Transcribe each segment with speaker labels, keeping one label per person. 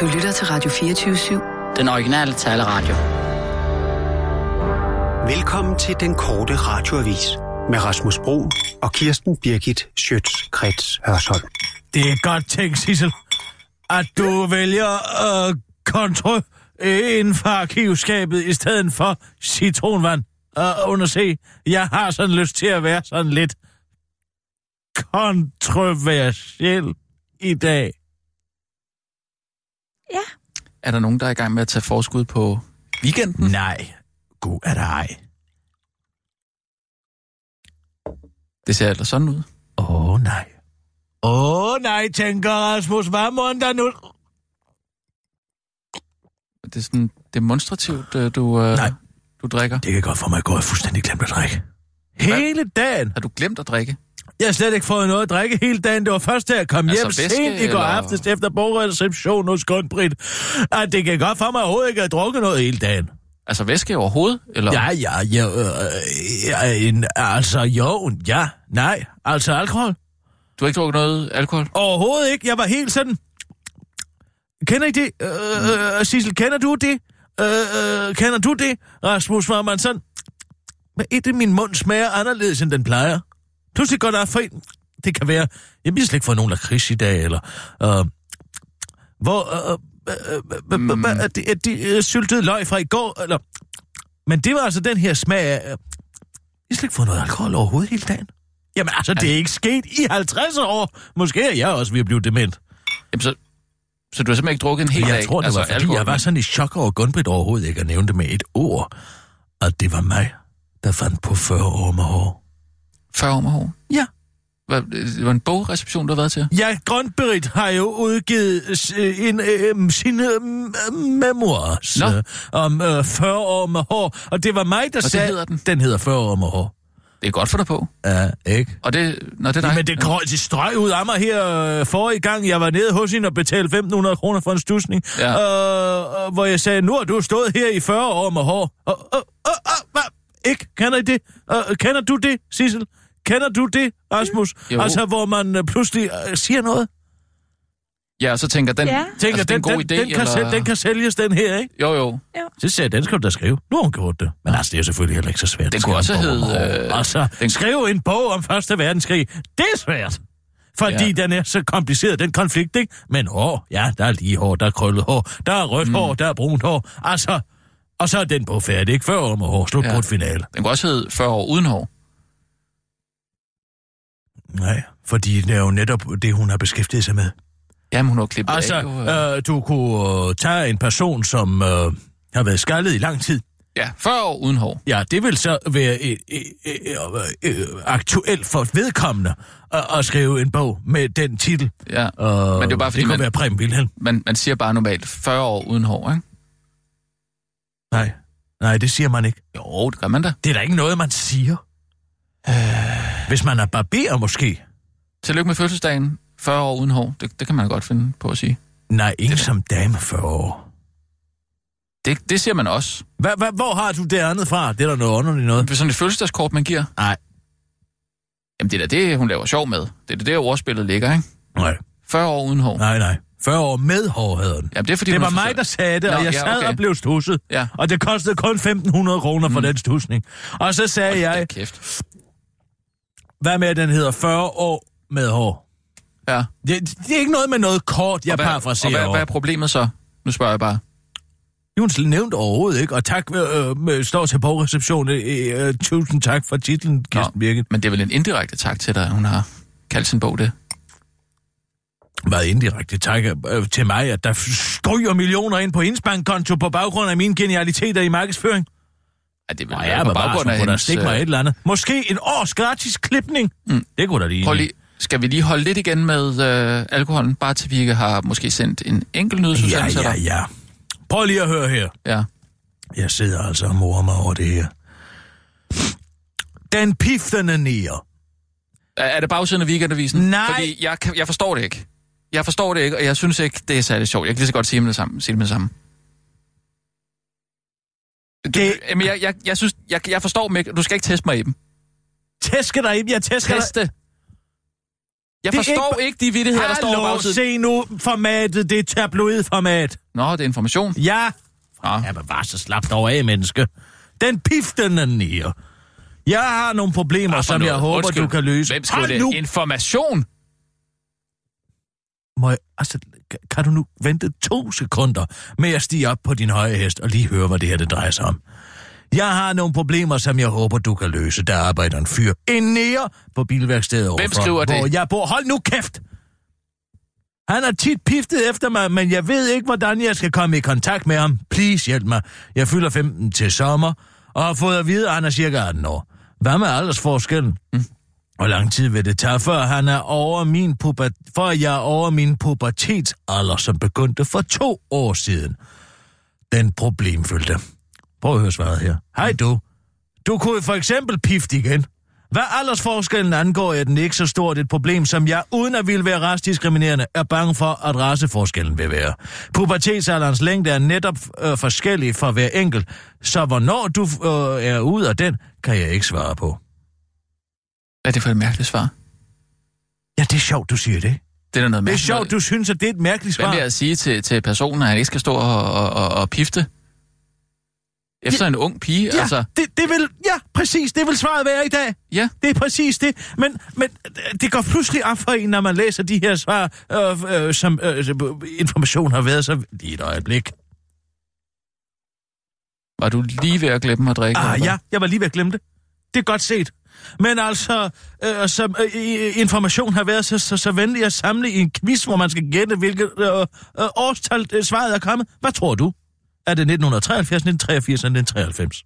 Speaker 1: Du lytter til Radio 24-7.
Speaker 2: Den originale taleradio.
Speaker 3: Velkommen til den korte radioavis med Rasmus Bro og Kirsten Birgit Schøtz-Krets Hørsholm.
Speaker 4: Det er godt tænkt, Sissel, at du vælger øh, kontro inden for arkivskabet i stedet for citronvand. Og uh, underse, jeg har sådan lyst til at være sådan lidt kontroversiel i dag.
Speaker 5: Ja.
Speaker 2: Er der nogen, der er i gang med at tage forskud på weekenden?
Speaker 4: Nej, god er der ej.
Speaker 2: Det ser ellers sådan ud.
Speaker 4: Åh oh, nej. Åh oh, nej, tænker Rasmus, hvad må der nu...
Speaker 2: Det er sådan demonstrativt, øh, du, øh,
Speaker 4: Nej.
Speaker 2: du drikker.
Speaker 4: Det kan godt for mig at gå, jeg fuldstændig glemt at drikke. Hele dagen.
Speaker 2: Har du glemt at drikke?
Speaker 4: Jeg har slet ikke fået noget at drikke hele dagen. Det var først, da jeg kom
Speaker 2: Altså
Speaker 4: altså, hjem
Speaker 2: væske,
Speaker 4: sent i går
Speaker 2: eller-
Speaker 4: aftes efter bogreception hos Grundbrit. At det kan godt for mig at overhovedet ikke at drukke noget hele dagen.
Speaker 2: Altså væske overhovedet? Eller?
Speaker 4: Ja, ja, ja, øh, ja en, altså jo, ja, nej, altså alkohol.
Speaker 2: Du har ikke drukket noget alkohol?
Speaker 4: Overhovedet ikke. Jeg var helt sådan... Kender I det? Øh, øh, Sissel, kender du det? Øh, øh, kender du det? Rasmus, var man sådan... Hvad er det, min mund smager anderledes, end den plejer? Pludselig går der for en... Det kan være... Jeg bliver slet ikke fået nogen lakrids i dag, eller... Øh, hvor... Øh, øh, øh, øh, hvad er det, er det øh, syltede løg fra i går, eller... Men det var altså den her smag af... Øh, jeg har slet ikke fået noget alkohol overhovedet hele dagen. Jamen altså, det er ikke sket i 50 år. Måske er jeg også ved at blive dement.
Speaker 2: Jamen, så, så du har simpelthen ikke drukket en hel dag?
Speaker 4: jeg tror, det altså, var, fordi jeg var sådan i chok over at Gunbrit overhovedet ikke at nævne det med et ord. Og det var mig, der fandt på 40 år med hår.
Speaker 2: 40 år med hår?
Speaker 4: Ja.
Speaker 2: Hvad, det var en bogreception, du har været til?
Speaker 4: Ja, Grønberit har jo udgivet s- en, øh, sine øh, memoirs
Speaker 2: Nå.
Speaker 4: øh, om øh, 40 år med hår, og det var mig, der
Speaker 2: det
Speaker 4: sagde...
Speaker 2: hedder den?
Speaker 4: Den hedder 40 år med hår.
Speaker 2: Det er godt for dig på.
Speaker 4: Ja, ikke?
Speaker 2: Og det, når det er dig.
Speaker 4: Men det, går, det strøg ud af mig her øh, forrige gang, jeg var nede hos hende og betalte 1.500 kroner for en stusning.
Speaker 2: Ja.
Speaker 4: Øh, øh, hvor jeg sagde, nu har du stået her i 40 år med hår. Øh, øh, øh, øh, hvad? Ikke? Kender I det? Øh, kender du det, Sissel? Kender du det, Rasmus?
Speaker 2: Jo.
Speaker 4: Mm. Altså, hvor man øh, pludselig øh, siger noget.
Speaker 2: Ja, og så tænker den...
Speaker 5: Ja.
Speaker 4: Tænker,
Speaker 2: altså, det er en
Speaker 4: den,
Speaker 2: god
Speaker 4: den,
Speaker 2: idé,
Speaker 4: den, kan
Speaker 2: eller...
Speaker 4: sæl- den kan sælges, den her, ikke?
Speaker 2: Jo, jo.
Speaker 4: Så sagde jeg, den skal du da skrive. Nu har hun gjort det. Men altså, det er jo selvfølgelig heller ikke så svært.
Speaker 2: Den
Speaker 4: at
Speaker 2: kunne også
Speaker 4: skrive en bog om Hår.
Speaker 2: hedde, øh,
Speaker 4: altså,
Speaker 2: den-
Speaker 4: den... skrive en bog om Første Verdenskrig. Det er svært. Fordi
Speaker 2: Ja.
Speaker 4: ja. den er så kompliceret, den konflikt, ikke? Men hår, ja, der er lige hår, der er krøllet hår, der er rødt mm. hår, der er brunt hår. Altså, og så er den på færdig, ikke? Før om og hår, slut
Speaker 2: Ja.
Speaker 4: ja. finale.
Speaker 2: Den kunne også hedde 40 år uden hår.
Speaker 4: Nej, fordi det er jo netop det, hun har beskæftiget sig med.
Speaker 2: Jamen, hun har jo klippet
Speaker 4: Altså,
Speaker 2: af. jo, øh.
Speaker 4: øh, du kunne øh, tage en person, som øh, har været skaldet i lang tid,
Speaker 2: Ja, 40 år uden hår.
Speaker 4: Ja, det vil så være øh, øh, øh, øh, aktuelt for vedkommende at, at skrive en bog med den titel.
Speaker 2: Ja.
Speaker 4: Uh, Men
Speaker 2: er jo bare, fordi
Speaker 4: det kunne
Speaker 2: man-
Speaker 4: være Preben Wilhelm.
Speaker 2: Man, man siger bare normalt 40 år uden hår, ikke?
Speaker 4: Nej, nej, det siger man ikke.
Speaker 2: Jo, det gør man da.
Speaker 4: Det er da ikke noget, man siger.
Speaker 2: Øh.
Speaker 4: Hvis man er barber måske.
Speaker 2: Tillykke med fødselsdagen. 40 år uden hår. Det, det kan man godt finde på at sige.
Speaker 4: Nej, ingen som dame 40 år.
Speaker 2: Det, det siger man også.
Speaker 4: Hva, hva, hvor har du det andet fra? Det er da noget underligt noget.
Speaker 2: Det er sådan et fødselsdagskort, man giver.
Speaker 4: Nej.
Speaker 2: Jamen, det er da det, hun laver sjov med. Det er da det, ordspillet ligger, ikke?
Speaker 4: Nej,
Speaker 2: 40 år uden hår.
Speaker 4: nej, nej. 40 år med hår havde den.
Speaker 2: Jamen, det er fordi,
Speaker 4: Det
Speaker 2: hun
Speaker 4: var
Speaker 2: er
Speaker 4: mig,
Speaker 2: frisør.
Speaker 4: der sagde det, og
Speaker 2: Nå,
Speaker 4: jeg
Speaker 2: ja,
Speaker 4: sad
Speaker 2: okay.
Speaker 4: og blev stusset.
Speaker 2: Ja. Mm.
Speaker 4: Og det kostede kun 1.500 kroner for den stusning. Og så sagde
Speaker 2: Ja,
Speaker 4: jeg,
Speaker 2: kæft.
Speaker 4: Hvad med, at den hedder 40 år med hår?
Speaker 2: Ja.
Speaker 4: Det, det er ikke noget med noget kort, jeg
Speaker 2: og hvad, og
Speaker 4: parafraserer
Speaker 2: hvad,
Speaker 4: over.
Speaker 2: hvad er problemet så? Nu spørger jeg bare.
Speaker 4: Hun nævnt overhovedet ikke, og tak, øh, med- står til bogreceptionen. Øh, øh, tusind tak for titlen, Kirsten Birgit.
Speaker 2: Men det er vel en indirekte tak til dig, at hun har kaldt sin bog det.
Speaker 4: Hvad indirekte tak øh, til mig, at der stryger millioner ind på hendes bankkonto på baggrund af mine genialiteter i markedsføring.
Speaker 2: Ja, det er vel
Speaker 4: Og
Speaker 2: være
Speaker 4: ja,
Speaker 2: på
Speaker 4: men bare,
Speaker 2: baggrund
Speaker 4: så
Speaker 2: af
Speaker 4: kunne der
Speaker 2: hendes,
Speaker 4: stikke mig et
Speaker 2: øh,
Speaker 4: eller andet. Måske en års gratis klipning. Mm. Det kunne da lige...
Speaker 2: Prøv lige, skal vi lige holde lidt igen med øh, alkoholen, bare til vi ikke har måske sendt en enkelt
Speaker 4: Ja,
Speaker 2: nyhedsudsendelse?
Speaker 4: ja,
Speaker 2: eller-
Speaker 4: ja. Prøv lige at høre her.
Speaker 2: ja.
Speaker 4: Jeg sidder altså og morer mig over det her. Den piftende nier.
Speaker 2: Er, er det bagsiden af weekendavisen?
Speaker 4: Nej.
Speaker 2: Fordi jeg, kan- jeg forstår det ikke. Jeg forstår det ikke, og jeg synes ikke, det er særlig sjovt. Jeg kan lige så godt sige det med det samme. Sige det med det samme.
Speaker 4: Det
Speaker 2: Jamen, Øh, jeg, jeg, jeg synes, jeg, jeg forstår dem ikke. Du skal ikke teste mig i dem.
Speaker 4: tæsker dig ind. Jeg tæsker dig.
Speaker 2: Teste. Jeg
Speaker 4: Det er
Speaker 2: forstår ikke, de vittigheder, der står på
Speaker 4: Hallo,
Speaker 2: bagsiden.
Speaker 4: se nu formatet, det er tabloidformat.
Speaker 2: Nå, det er information.
Speaker 4: Ja,
Speaker 2: Nå.
Speaker 4: Ja, men var så slapt over af, menneske. Den piftende nier. Jeg har nogle problemer,
Speaker 2: Hvad for
Speaker 4: som jeg
Speaker 2: noget?
Speaker 4: håber,
Speaker 2: Undskyld.
Speaker 4: du kan løse.
Speaker 2: Hvem skriver
Speaker 4: Hold
Speaker 2: det?
Speaker 4: nu!
Speaker 2: Information?
Speaker 4: Må jeg, altså, ka- kan du nu vente to sekunder med at stige op på din høje hest og lige høre, hvad det her det drejer sig om? Jeg har nogle problemer, som jeg håber, du kan løse. Der arbejder en fyr en nære på bilværkstedet overfor,
Speaker 2: skriver det?
Speaker 4: hvor jeg bor. Hold nu kæft! Han har tit piftet efter mig, men jeg ved ikke, hvordan jeg skal komme i kontakt med ham. Please hjælp mig. Jeg fylder 15 til sommer, og har fået at vide, at han er cirka 18 år. Hvad med aldersforskellen? Hvor lang tid vil det tage, før, han er over min puber- før jeg er over min pubertetsalder, som begyndte for to år siden? Den problemfyldte. Prøv at høre svaret her. Hej du. Du kunne for eksempel pifte igen. Hvad aldersforskellen angår, er den ikke så stort et problem, som jeg, uden at ville være racediskriminerende, er bange for, at raceforskellen vil være. Pubertetsalderens længde er netop øh, forskellig for hver enkelt, så hvornår du øh, er ude af den, kan jeg ikke svare på.
Speaker 2: Hvad er det for et mærkeligt svar?
Speaker 4: Ja, det er sjovt, du siger det.
Speaker 2: Det er da noget
Speaker 4: Det er
Speaker 2: mærkeligt.
Speaker 4: sjovt, du synes, at det er et mærkeligt
Speaker 2: Hvad
Speaker 4: svar.
Speaker 2: vil jeg sige til, til personen, at han ikke skal stå og, og, og, og pifte? Efter en ung pige,
Speaker 4: Ja,
Speaker 2: altså.
Speaker 4: det, det vil, ja, præcis, det vil svaret være i dag.
Speaker 2: Ja.
Speaker 4: Det er præcis det. Men, men det går pludselig op for en, når man læser de her svar, øh, øh, som øh, som information har været så... Lige et øjeblik.
Speaker 2: Var du lige ved at glemme at drikke?
Speaker 4: Ah,
Speaker 2: eller hvad?
Speaker 4: ja, jeg var lige ved at glemme det. Det er godt set. Men altså, øh, som øh, i- information har været så, så, så venlig at samle i en quiz, hvor man skal gætte, hvilket øh, øh, årstal øh, svaret er kommet. Hvad tror du? Er det 1973, 1983 eller 1993?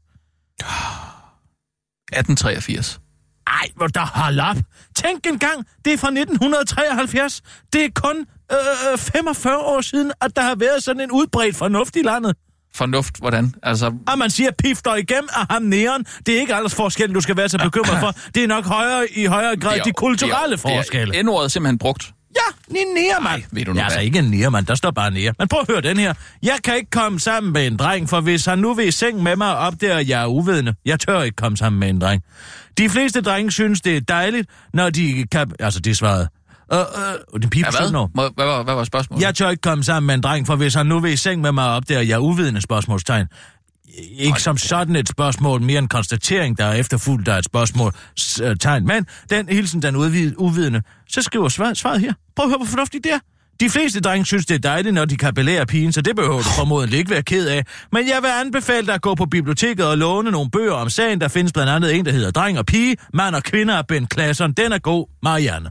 Speaker 2: 1883.
Speaker 4: Ej, hvor der hold op. Tænk engang, det er fra 1973. Det er kun øh, øh, 45 år siden, at der har været sådan en udbredt fornuft i landet.
Speaker 2: Fornuft, hvordan? Altså,
Speaker 4: Og man siger, pifter igennem af ham næren. Det er ikke aldersforskellen, du skal være så bekymret for. Det er nok højere, i højere grad de kulturelle
Speaker 2: det er-
Speaker 4: forskelle.
Speaker 2: Det er N-ordet simpelthen brugt.
Speaker 4: Ja, en nærmand.
Speaker 2: Ej, ved du nu
Speaker 4: Jeg er altså
Speaker 2: hvad?
Speaker 4: ikke en nærmand, der står bare nære. Men prøv at høre den her. Jeg kan ikke komme sammen med en dreng, for hvis han nu vil i seng med mig og opdager, at jeg er uvidende, jeg tør ikke komme sammen med en dreng. De fleste drenge synes, det er dejligt, når de kan... Altså, det svarede. Øh, øh, den pige
Speaker 2: Ja,
Speaker 4: på
Speaker 2: hvad?
Speaker 4: 17 år.
Speaker 2: Må, hvad, var, hvad var spørgsmålet?
Speaker 4: Jeg tør ikke komme sammen med en dreng, for hvis han nu vil i seng med mig op der, jeg er uvidende spørgsmålstegn. Ikke som sådan et spørgsmål, mere en konstatering, der er efterfulgt af et spørgsmål s- øh, tegn. Men den hilsen, den udvi- uvidende, så skriver svaret, svaret her. Prøv at høre, hvor fornuftigt det er. De fleste drenge synes, det er dejligt, når de kan belære pigen, så det behøver du formodentlig ikke være ked af. Men jeg vil anbefale dig at gå på biblioteket og låne nogle bøger om sagen. Der findes blandt andet en, der hedder Dreng og Pige, Mand og Kvinder af Ben Klasson. Den er god, Marianne.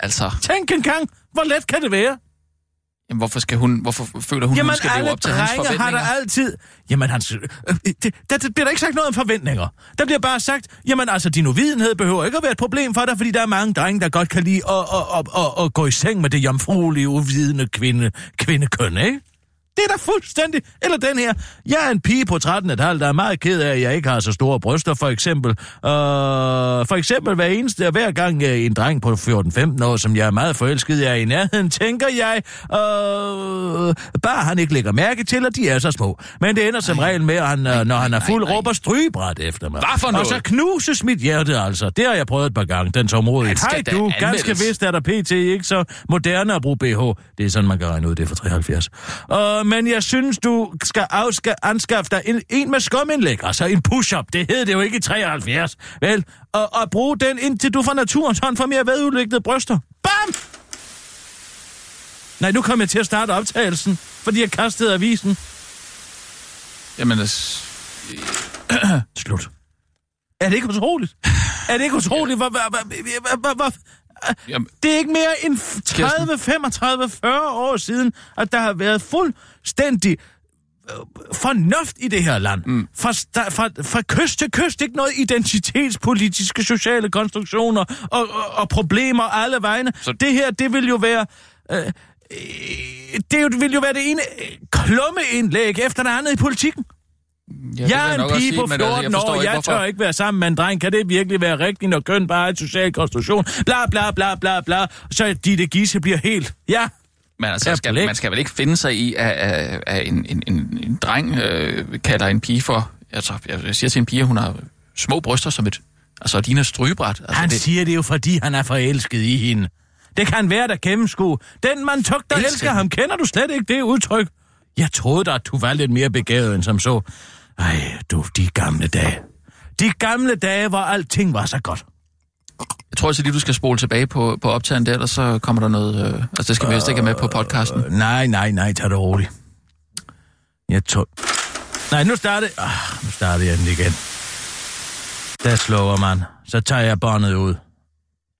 Speaker 2: Altså,
Speaker 4: Tænk engang, hvor let kan det være?
Speaker 2: jamen, hvorfor, skal hun, hvorfor føler hun,
Speaker 4: Jamen,
Speaker 2: hun skal
Speaker 4: alle
Speaker 2: leve op til hans
Speaker 4: drenge har
Speaker 2: forventninger?
Speaker 4: der altid... Jamen, han... øh, Det, der, der bliver der ikke sagt noget om forventninger. Der bliver bare sagt, jamen altså, din uvidenhed behøver ikke at være et problem for dig, fordi der er mange drenge, der godt kan lide at, at, at, at, at gå i seng med det jomfruelige, uvidende kvinde, kvindekøn, ikke? Det er da fuldstændig... Eller den her. Jeg er en pige på 13 et halvt, der er meget ked af, at jeg ikke har så store bryster, for eksempel. Øh, for eksempel hver eneste, hver gang øh, en dreng på 14-15 år, som jeg er meget forelsket i, er i nærheden, tænker jeg, øh, bare han ikke lægger mærke til, at de er så små. Men det ender som regel med, at han, øh, når han er fuld, råber strygebræt efter mig.
Speaker 2: Hvad for noget?
Speaker 4: Og så knuses mit hjerte, altså. Det har jeg prøvet et par gange, den tålmodighed.
Speaker 2: Han
Speaker 4: Hej
Speaker 2: skal da
Speaker 4: du, ganske
Speaker 2: anmeldes.
Speaker 4: vist vist er der pt. ikke så moderne at bruge BH. Det er sådan, man kan regne ud, det er for 73. Uh, men jeg synes, du skal afska- anskaffe dig en, en med skumindlæg, altså en push-up. Det hed det jo ikke i 73, vel? Og, og brug den, indtil du fra naturens hånd får mere vedudviklede bryster. Bam! Nej, nu kom jeg til at starte optagelsen, fordi jeg kastede avisen.
Speaker 2: Jamen, altså,
Speaker 4: Slut. Er det ikke utroligt? Er det ikke utroligt? Hvor, hvor, hvor, hvor, hvor, hvor,
Speaker 2: jamen,
Speaker 4: Det er ikke mere end f- 30, 35, 40 år siden, at der har været fuldstændig øh, fornuft i det her land. Mm. Fra, sta- fra, fra kyst til kyst, ikke noget identitetspolitiske, sociale konstruktioner og, og, og problemer alle vegne.
Speaker 2: Så-
Speaker 4: Så... Det her, det vil jo være... Øh, øh, det jo- vil jo være det ene øh, klummeindlæg efter det andet i politikken.
Speaker 2: ja, det vil
Speaker 4: Jeg er
Speaker 2: nok
Speaker 4: en
Speaker 2: også
Speaker 4: pige
Speaker 2: sige,
Speaker 4: på
Speaker 2: men altså,
Speaker 4: 14
Speaker 2: jeg forstår
Speaker 4: år, jeg
Speaker 2: ikke,
Speaker 4: tør
Speaker 2: hvorfor-
Speaker 4: ikke være sammen med en dreng. Kan det virkelig være rigtigt, når køn bare er en social konstruktion? Bla, bla, bla, bla, bla. Så Ditte Gisse bliver helt... Ja,
Speaker 2: Men altså,
Speaker 4: Ja,
Speaker 2: skal,
Speaker 4: blæk.
Speaker 2: man skal vel ikke finde sig i, at, at, at en, en, en, en dreng øh, kalder en pige for... Altså, jeg siger til en pige, at hun har små bryster som et Altså, og Dina Strybræt. Altså,
Speaker 4: Han
Speaker 2: det-
Speaker 4: siger det er jo, fordi han er forelsket i hende. Det kan være, der gennemskue. Den man tog, der
Speaker 2: Elsker
Speaker 4: elsker
Speaker 2: hende.
Speaker 4: ham, kender du slet ikke det udtryk? Jeg troede da, at du var lidt mere begavet end som så. Ej, du, de gamle dage. De gamle dage, hvor alting var så godt.
Speaker 2: Jeg tror altså lige, du skal spole tilbage på, på optageren der, og så kommer der noget... Øh, altså, det skal vi helst ikke have med på podcasten.
Speaker 4: Øh, nej, nej, nej, tag det roligt. Jeg tror... Nej, nu starter... Ah, nu starter jeg den igen. Der slår man. Så tager jeg båndet ud.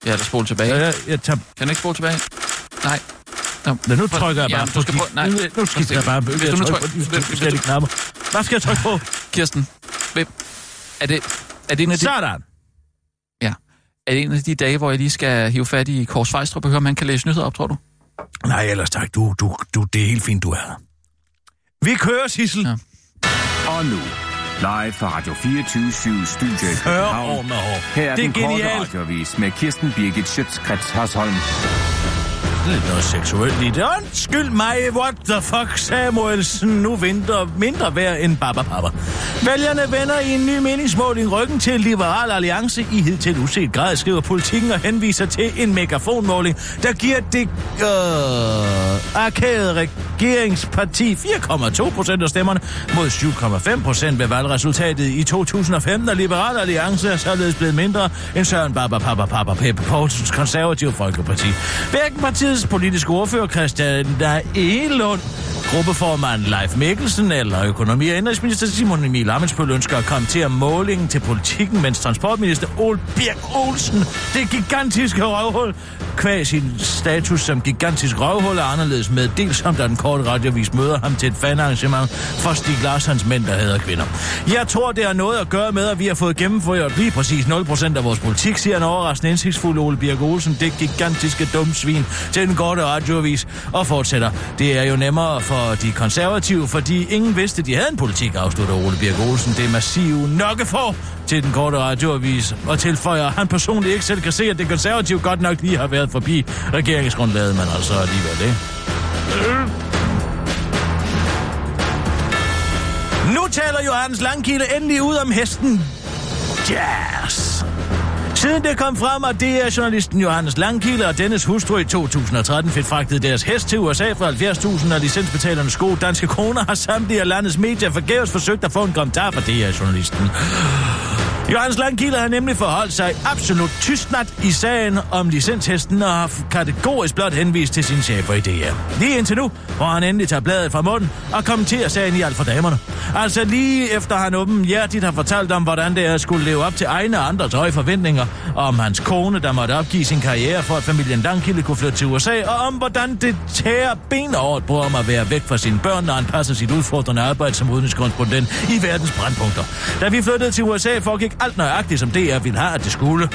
Speaker 2: Ja, der spole tilbage.
Speaker 4: Jeg, jeg, jeg tager
Speaker 2: Kan du ikke spole tilbage? Nej. Nå,
Speaker 4: Men nu trykker jeg
Speaker 2: Ja,
Speaker 4: bare
Speaker 2: du
Speaker 4: på
Speaker 2: skal
Speaker 4: de-
Speaker 2: prøve- nej. Altså,
Speaker 4: Nu- Nu skifter jeg bare bøger.
Speaker 2: Hvis du nu trykker-
Speaker 4: på de
Speaker 2: hvis
Speaker 4: forskellige
Speaker 2: du-
Speaker 4: knapper. Hvad skal jeg trykke på?
Speaker 2: Kirsten, hvem? Er det, er det en af de
Speaker 4: Sådan.
Speaker 2: Ja. Er det en af de dage, hvor jeg lige skal hive fat i Kors Fejstrup og høre, om han kan læse nyheder op, tror du?
Speaker 4: Nej, ellers tak. Du, du, du, det er helt fint, du er her. Vi kører, Sissel.
Speaker 2: Ja.
Speaker 4: Ja.
Speaker 5: Og nu, live fra Radio 24 Studio i
Speaker 4: 40 år
Speaker 5: København.
Speaker 4: med hår.
Speaker 5: Her er
Speaker 4: det er
Speaker 5: den korte
Speaker 4: genialt.
Speaker 5: radiovis med Kirsten Birgit Schøtzgrads Hasholm.
Speaker 4: Lidt noget seksuelt i det. Undskyld mig, what the fuck, Samuelsen. Nu vinter mindre værd end Baba Papa. Vælgerne vender i en ny meningsmåling ryggen til Liberal Alliance i hidtil uset grad, skriver politikken og henviser til en megafonmåling, der giver det øh, arkæde regeringsparti 4,2 procent af stemmerne mod 7,5 procent ved valgresultatet i 2015, og Liberal Alliance er således blevet mindre end Søren Barber Papa Papa Peppe Poulsens konservative Folkeparti. Hverken partiets politiske ordfører Christian Elund, gruppeformand Leif Mikkelsen eller økonomi- og indrigsminister Simon Emil Amensbøl ønsker at komme til at målingen til politikken, mens transportminister Ole Birk Olsen, det gigantiske røvhul, kvæg sin status som gigantisk røvhul er anderledes med, dels som da den korte radiovis møder ham til et fanarrangement for Stig Larssons mænd, der hader kvinder. Jeg tror, det har noget at gøre med, at vi har fået gennemført lige præcis 0% af vores politik, siger en overraskende indsigtsfuld Ole Birk Olsen, det gigantiske dumsvin til den korte radiovis, og fortsætter. Det er jo nemmere for de konservative, fordi ingen vidste, de havde en politik, afslutter Ole Birk Olsen. Det massive nokke for til den korte radioavis, og tilføjer, at han personligt ikke selv kan se, at det konservative godt nok lige har været forbi regeringsgrundlaget, men altså alligevel det. Nu taler Johannes Langkilde endelig ud om hesten Jazz. Siden det kom frem, at det er journalisten Johannes Langkilde og dennes hustru i 2013 fik fragtet deres hest til USA for 70.000 af licensbetalernes gode danske kroner, har samtlige af landets medier forgæves forsøgt at få en kommentar fra DR-journalisten. Johannes Langkilde har nemlig forholdt sig absolut tystnat i sagen om licenshesten og har kategorisk blot henvist til sin chefer i DR. Lige indtil nu, hvor han endelig tager bladet fra munden og kommenterer sagen i alt for damerne. Altså lige efter han åbenhjertigt har fortalt om, hvordan det er at skulle leve op til egne og andres høje forventninger, og om hans kone, der måtte opgive sin karriere for, at familien Langkilde kunne flytte til USA, og om hvordan det tærer ben over på om at være væk fra sine børn, når han passer sit udfordrende arbejde som udenrigskorrespondent i verdens brandpunkter. Da vi flyttede til USA, foregik alt nøjagtigt, som DR ville have, at det skulle.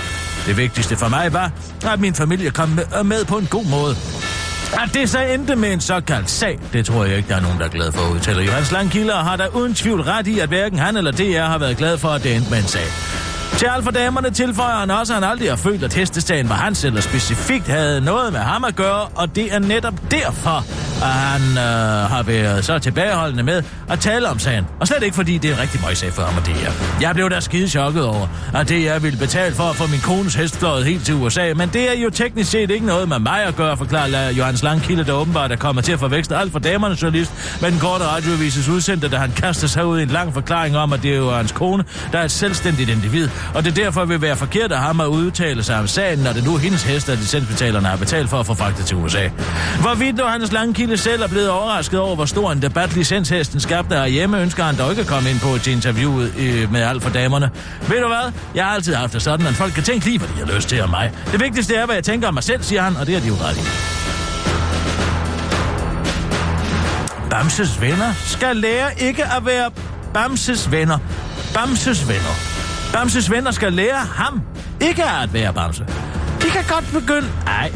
Speaker 4: Det vigtigste for mig var, at min familie kom med- med på en god måde. At det så endte med en såkaldt sag, det tror jeg ikke, der er nogen, der er glad for, udtaler Johannes Langkilde, og har der uden tvivl ret i, at hverken han eller DR har været glad for, at det endte med en sag. Til alt for damerne tilføjer han også, at han aldrig har følt, at hestestagen var hans eller specifikt havde noget med ham at gøre, og det er netop derfor, at han øh, har været så tilbageholdende med at tale om sagen. Og slet ikke fordi det er en rigtig møjsag for ham og det her. Jeg blev da skide chokket over, at det jeg ville betale for at få min kones hest fløjet helt til USA, men det er jo teknisk set ikke noget med mig at gøre, forklarer Johannes Langkilde, der åbenbart er kommet til at forveksle alt for damernes journalist med den korte radioavises udsendte, da han kaster sig ud i en lang forklaring om, at det er jo hans kone, der er et selvstændigt individ, og det derfor vil være forkert af ham at udtale sig om sagen, når det nu er hendes hest, at licensbetalerne har betalt for at få fragtet til USA. Hvorvidt nu hans langkilde selv er blevet overrasket over, hvor stor en debat licenshesten skabte herhjemme, ønsker han dog ikke at komme ind på til interviewet øh, med alt for damerne. Ved du hvad? Jeg har altid haft det sådan, at folk kan tænke lige, hvad de har lyst til om mig. Det vigtigste er, hvad jeg tænker om mig selv, siger han, og det er de jo ret i. Bamses venner skal lære ikke at være Bamses venner. Bamses venner. Bamses venner skal lære ham ikke at være Bamse. De kan godt begynde... Ej,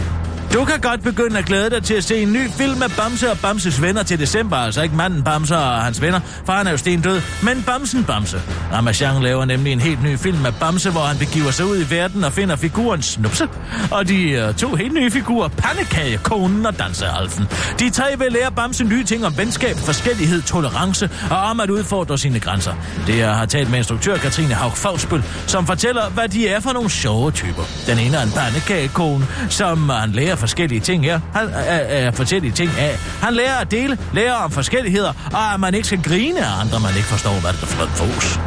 Speaker 4: Du kan godt begynde at glæde dig til at se en ny film med Bamse og Bamses venner til december. Altså ikke manden Bamse og hans venner, for han er jo stendød, men Bamsen Bamse. Ramachan laver nemlig en helt ny film med Bamse, hvor han begiver sig ud i verden og finder figuren Snupse. Og de øh, to helt nye figurer, Pandekage, Konen og Dansealfen. De tre vil lære Bamse nye ting om venskab, forskellighed, tolerance og om at udfordre sine grænser. Det jeg har talt med instruktør Katrine Haug Fagsbøl, som fortæller, hvad de er for nogle sjove typer. Den ene er en pandekagekone, som han lærer forskellige ting her. Han øh, øh, forskellige ting af. Han lærer at dele, lærer om forskelligheder, og at man ikke skal grine af andre, man ikke forstår, hvad der er for fos.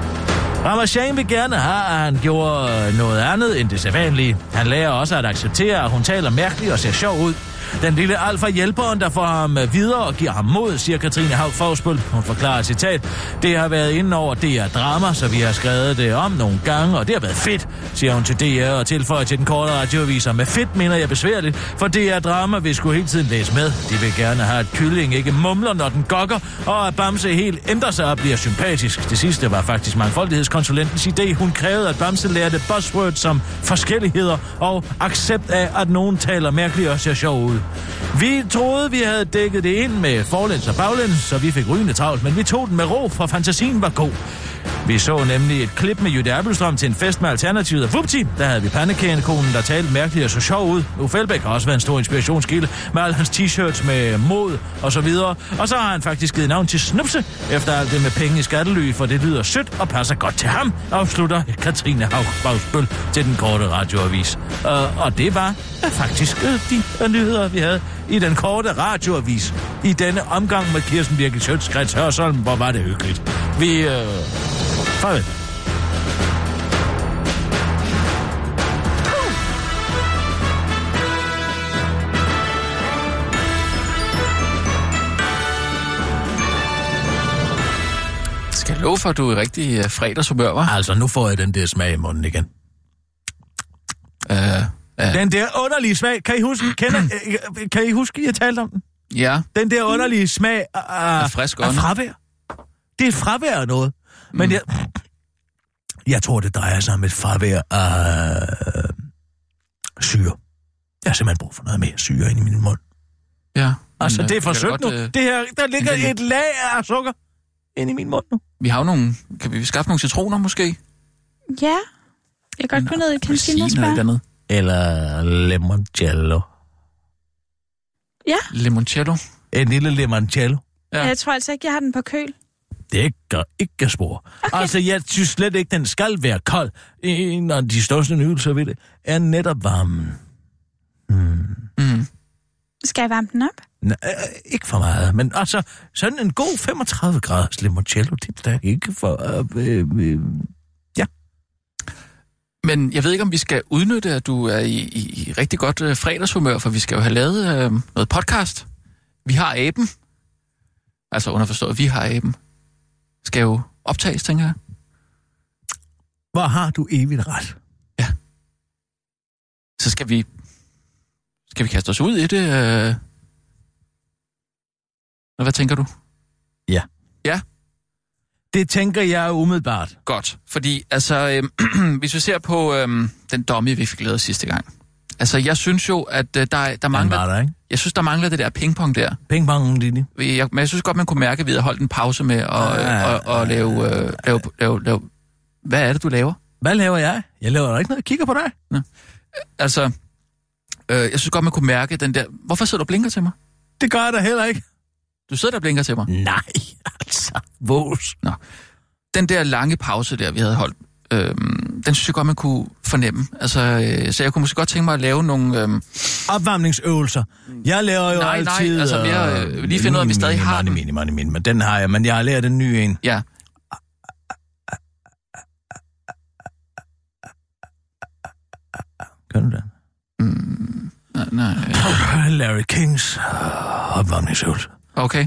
Speaker 4: Ramachan vil gerne have, at han gjorde øh, noget andet end det sædvanlige. Han lærer også at acceptere, at hun taler mærkeligt og ser sjov ud. Den lille Alf er hjælperen, der får ham øh, videre og giver ham mod, siger Katrine Haug Fagsbøl. Hun forklarer et citat. Det har været inde over DR Drama, så vi har skrevet det om nogle gange, og det har været fedt, siger hun til DR og tilføjer til den korte radioavis. Og med fedt mener jeg besværligt, for DR Drama vil skulle hele tiden læse med. De vil gerne have, at kylling ikke mumler, når den gokker, og at Bamse helt ændrer sig og bliver sympatisk. Det sidste var faktisk mangfoldighedskonsulentens idé. Hun krævede, at Bamse lærte buzzwords som forskelligheder og accept af, at nogen taler mærkeligt og ser sjov ud. Vi troede, vi havde dækket det ind med forlæns og baglæns, så vi fik rygende travlt, men vi tog den med ro, for fantasien var god. Vi så nemlig et klip med Jytte Appelstrøm til en fest med Alternativet og Fupti. Der havde vi pandekagenekonen, der talte mærkeligt og så sjov ud. Uffe Elbæk har også været en stor inspirationskilde med alle hans t-shirts med mod og så videre. Og så har han faktisk givet navn til Snupse, efter alt det med penge i skattely, for det lyder sødt og passer godt til ham, afslutter Katrine Haugbagsbøl til den korte radioavis. Uh, og det var uh, faktisk uh, de uh, nyheder, vi havde i den korte radioavis. I denne omgang med Kirsten Birgit Sjøtskrets Hørsholm, hvor var det hyggeligt. Vi... Uh, Farvel.
Speaker 2: Skal jeg love for, at du er i rigtig uh, fredagshumør, var?
Speaker 4: Altså, nu får jeg den der smag i munden igen.
Speaker 2: Uh,
Speaker 4: Den der underlige smag, kan I huske, kender, øh, kan I huske, jeg talte om den?
Speaker 2: ja,
Speaker 4: Den der underlige smag af, af,
Speaker 2: Mm. frisk Mm.
Speaker 4: af
Speaker 2: ånd.
Speaker 4: fravær. Det er et fravær af noget. Men jeg, jeg tror, det drejer sig om et fravær af øh, syre. Jeg har simpelthen brug for noget mere syre ind i min mund.
Speaker 2: ja.
Speaker 4: Altså,
Speaker 2: Men,
Speaker 4: det er
Speaker 2: øh,
Speaker 4: for
Speaker 2: Mm, kan
Speaker 4: sødt
Speaker 2: godt,
Speaker 4: nu.
Speaker 2: øh,
Speaker 4: Det her, der ligger
Speaker 2: men-
Speaker 4: et lag af sukker ind i min mund nu.
Speaker 2: Vi har jo nogle... Kan vi skaffe nogle citroner, måske?
Speaker 6: Ja. Jeg kan godt gå ned i kantinen og
Speaker 2: Appelsiner eller et
Speaker 6: spørge.
Speaker 2: andet.
Speaker 4: Eller limoncello.
Speaker 6: Ja.
Speaker 2: Limoncello.
Speaker 4: En lille limoncello.
Speaker 2: Ja.
Speaker 6: Jeg tror altså ikke, jeg har den på køl.
Speaker 4: Det gør ikke spor. Okay. Altså, jeg synes slet ikke, den skal være kold. En af de største nydelser ved det er netop varmen.
Speaker 2: Mm.
Speaker 6: Skal jeg varme den op?
Speaker 4: Nej, øh, ikke for meget, men altså, sådan en god 35 graders limoncello, det er da ikke for... Øh, øh, øh.
Speaker 2: Men jeg ved ikke, om vi skal udnytte, at du er i, i, i rigtig godt øh, fredagshumør, for vi skal jo have lavet øh, noget podcast. Vi har aben. Altså underforstået, vi har aben. Skal jo optages, tænker jeg.
Speaker 4: Hvor har du evigt ret?
Speaker 2: Så skal vi... Skal vi kaste os ud i det? Øh... Nå, Hvad tænker du?
Speaker 4: Det tænker jeg umiddelbart.
Speaker 2: Godt, fordi altså, øh, hvis vi ser på øh, den dummy, vi fik lavet sidste gang. Altså, jeg synes jo, at øh, der, er- der
Speaker 4: Man
Speaker 2: mangler...
Speaker 4: var der, ikke?
Speaker 2: Jeg synes, der mangler det der pingpong der.
Speaker 4: Ping pong, Lili.
Speaker 2: jeg, men jeg synes godt, man kunne mærke, at vi havde holdt en pause med at,
Speaker 4: Ah.
Speaker 2: og, og, og lave, øh, lave, lave, lave... Hvad er det, du laver?
Speaker 4: Hvad laver jeg? Jeg laver da ikke noget. Jeg kigger på dig.
Speaker 2: Altså, øh, jeg synes godt, man kunne mærke den der... Hvorfor sidder du og blinker til mig?
Speaker 4: Det gør jeg da heller ikke.
Speaker 2: Du sidder der og blinker til mig.
Speaker 4: Nej, altså. Vås.
Speaker 2: Den der lange pause der, vi havde holdt, øh, den synes jeg godt, man kunne fornemme. Altså, øh, så jeg kunne måske godt tænke mig at lave nogle... Øh,
Speaker 4: Opvarmningsøvelser. Jeg laver jo
Speaker 2: Nej, nej,
Speaker 4: altid...
Speaker 2: altså, mere, øh, lige finde ud af, om vi stadig har
Speaker 4: den.
Speaker 2: den.
Speaker 4: Mini, mini, mini, men den har jeg, men jeg har lært den nye en.
Speaker 2: ja,
Speaker 4: Kan du den?
Speaker 2: nej, nej,
Speaker 4: Larry Kings øh, opvarmningsøvelse.
Speaker 2: okay.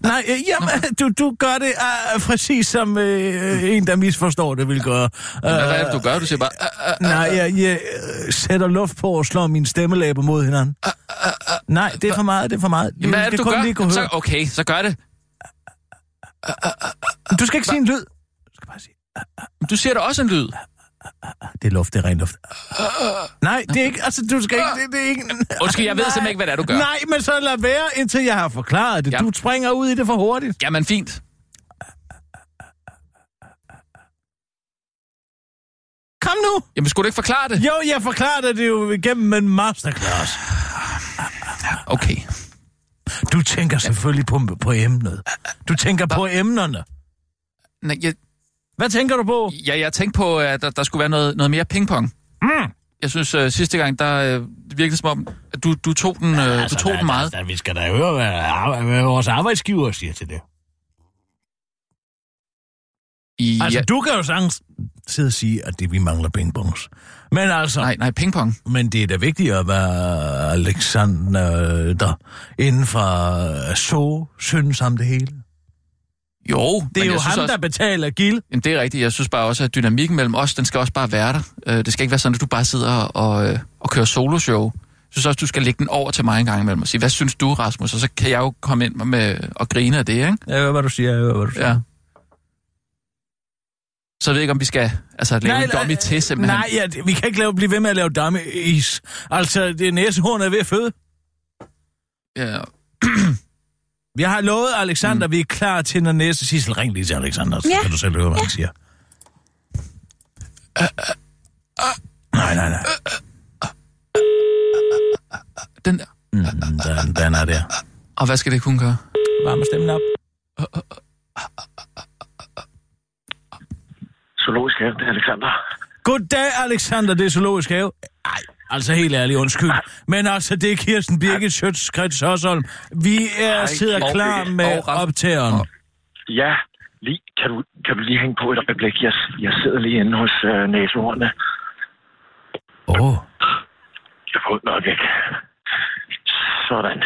Speaker 4: Nej, øh, jamen, du, du gør det uh, præcis som øh, en, der misforstår det, vil gøre. Uh,
Speaker 2: Hvad, hvad er det, du gør? Du siger bare... Øh, øh,
Speaker 4: Nej, jeg, jeg øh, sætter luft på og slår mine stemmelæber mod hinanden.
Speaker 2: Øh,
Speaker 4: Nej, det er for meget, det er for meget.
Speaker 2: jamen, hvad er det,
Speaker 4: det
Speaker 2: du
Speaker 4: kun
Speaker 2: gør?
Speaker 4: Lige kunne
Speaker 2: Jamen, så,
Speaker 4: høre.
Speaker 2: okay, så gør det.
Speaker 4: Du skal ikke sige en lyd. Du skal bare sige.
Speaker 2: Du siger da også en lyd.
Speaker 4: Det er luft, det er ren luft. Nej, det er ikke, altså du skal ikke, det, det er ikke...
Speaker 2: Undskyld, jeg ved
Speaker 4: Nej.
Speaker 2: simpelthen ikke, hvad det er, du gør.
Speaker 4: Nej, men så lad være, indtil jeg har forklaret det.
Speaker 2: Ja.
Speaker 4: Du springer ud i det for hurtigt.
Speaker 2: Jamen, fint.
Speaker 4: Kom nu!
Speaker 2: Jamen, skulle du ikke forklare det?
Speaker 4: Jo, jeg forklarede det jo igennem en masterclass.
Speaker 2: Okay.
Speaker 4: Du tænker selvfølgelig på, på emnet. Du tænker på emnerne.
Speaker 2: Nej, jeg,
Speaker 4: Hvad tænker du på?
Speaker 2: Ja, jeg tænkte på, at der, der skulle være noget, noget mere pingpong.
Speaker 4: Mm.
Speaker 2: Jeg synes, uh, sidste gang, der uh, virkede det som om, at du, du tog den, uh, du
Speaker 4: altså,
Speaker 2: tog den meget.
Speaker 4: Der, der, vi skal da høre, hvad, ar- hvad vores arbejdsgiver siger til det.
Speaker 2: I,
Speaker 4: Altså, ja.
Speaker 2: ja,
Speaker 4: du kan jo sagtens sidde og sige, at det, vi mangler pingpongs. Men altså, Nej.
Speaker 2: nej, nej, pingpong.
Speaker 4: men det er da vigtigere at være Alexander, der inden for øh, så synes om det hele.
Speaker 2: Jo,
Speaker 4: Det er
Speaker 2: men
Speaker 4: jo
Speaker 2: jeg synes
Speaker 4: ham, også...
Speaker 2: også,
Speaker 4: der betaler gild.
Speaker 2: Jamen, det er rigtigt. Jeg synes bare også, at dynamikken mellem os, den skal også bare være der. Uh, det skal ikke være sådan, at du bare sidder og, uh, og kører soloshow. Jeg synes også, du skal lægge den over til mig en gang imellem og sige, hvad synes du, Rasmus? Og så kan jeg jo komme ind med og grine af det, ikke?
Speaker 4: Jeg hører, hvad du siger. Jeg hører, hvad du siger.
Speaker 2: Ja. Så jeg ved ikke, om vi skal altså, lave nej, en
Speaker 4: nej,
Speaker 2: dummy til, simpelthen.
Speaker 4: Nej, ja, det- vi kan ikke lave, blive ved med at lave damme is. Altså, det næsehorn er ved at føde.
Speaker 2: Ja.
Speaker 4: Vi har lovet Alexander, mm. vi er klar til, når næste Sissel, ring lige til Alexander, så
Speaker 6: Ja.
Speaker 4: ja. kan du selv høre, hvad han siger. Nej, nej, nej.
Speaker 2: Den der.
Speaker 4: Mm, Den, den er der.
Speaker 2: Og hvad skal det kunne gøre?
Speaker 4: Varme stemmen op.
Speaker 7: Zoologisk have, det er Alexander.
Speaker 4: Goddag, Alexander, det er Zoologisk Have. Ej, altså helt ærligt, undskyld. Men altså, det er Kirsten Birgit Schøtz, Krets Hørsholm. Vi er, sidder
Speaker 7: Kirsten.
Speaker 4: klar med
Speaker 2: Og Ram-
Speaker 4: optageren.
Speaker 7: Ja, lige, kan, du, kan du lige hænge på et øjeblik? Jeg, jeg sidder lige inde hos øh, næsehornene.
Speaker 4: Åh, oh,
Speaker 7: Jeg får nok ikke. Sådan.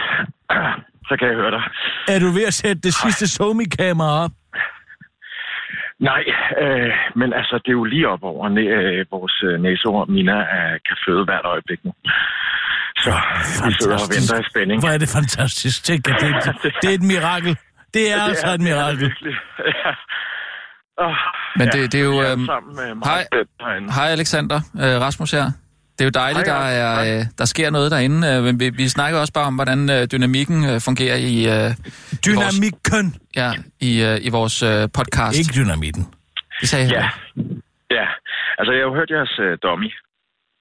Speaker 7: Så kan jeg høre dig.
Speaker 4: er du ved at sætte det sidste Somi-kamera op?
Speaker 7: Nej, øh, men altså, det er jo lige op over næ- øh, vores øh, næseord. Mina øh, kan føde hvert øjeblik nu. Så vi sidder og venter i spænding.
Speaker 4: Hvor er det fantastisk. Tænk, at det, det, det er et mirakel. Det er
Speaker 7: Det
Speaker 4: altså
Speaker 7: er-
Speaker 4: et
Speaker 7: det er det
Speaker 4: mirakel.
Speaker 7: virkelig. Ja. Åh,
Speaker 2: Men det- det er jo,
Speaker 7: vi
Speaker 2: øhm,
Speaker 7: alle sammen, øh, meget
Speaker 2: hej.
Speaker 7: spændt herinde.
Speaker 2: Hej Alexander, øh, Rasmus her. Det er jo dejligt,
Speaker 7: Hej,
Speaker 2: der,
Speaker 7: Rasmus.
Speaker 2: er, øh, der sker noget derinde, øh, men vi, vi snakker også bare om, hvordan øh, dynamikken øh, fungerer i, øh, i vores,
Speaker 4: Dynamikken.
Speaker 2: ja, i, øh, i vores øh,
Speaker 7: Altså-
Speaker 2: podcast.
Speaker 4: Ikke dynamitten.
Speaker 2: Det sagde jeg.
Speaker 7: Ja. Ja, altså jeg har jo hørt jeres øh, dummy.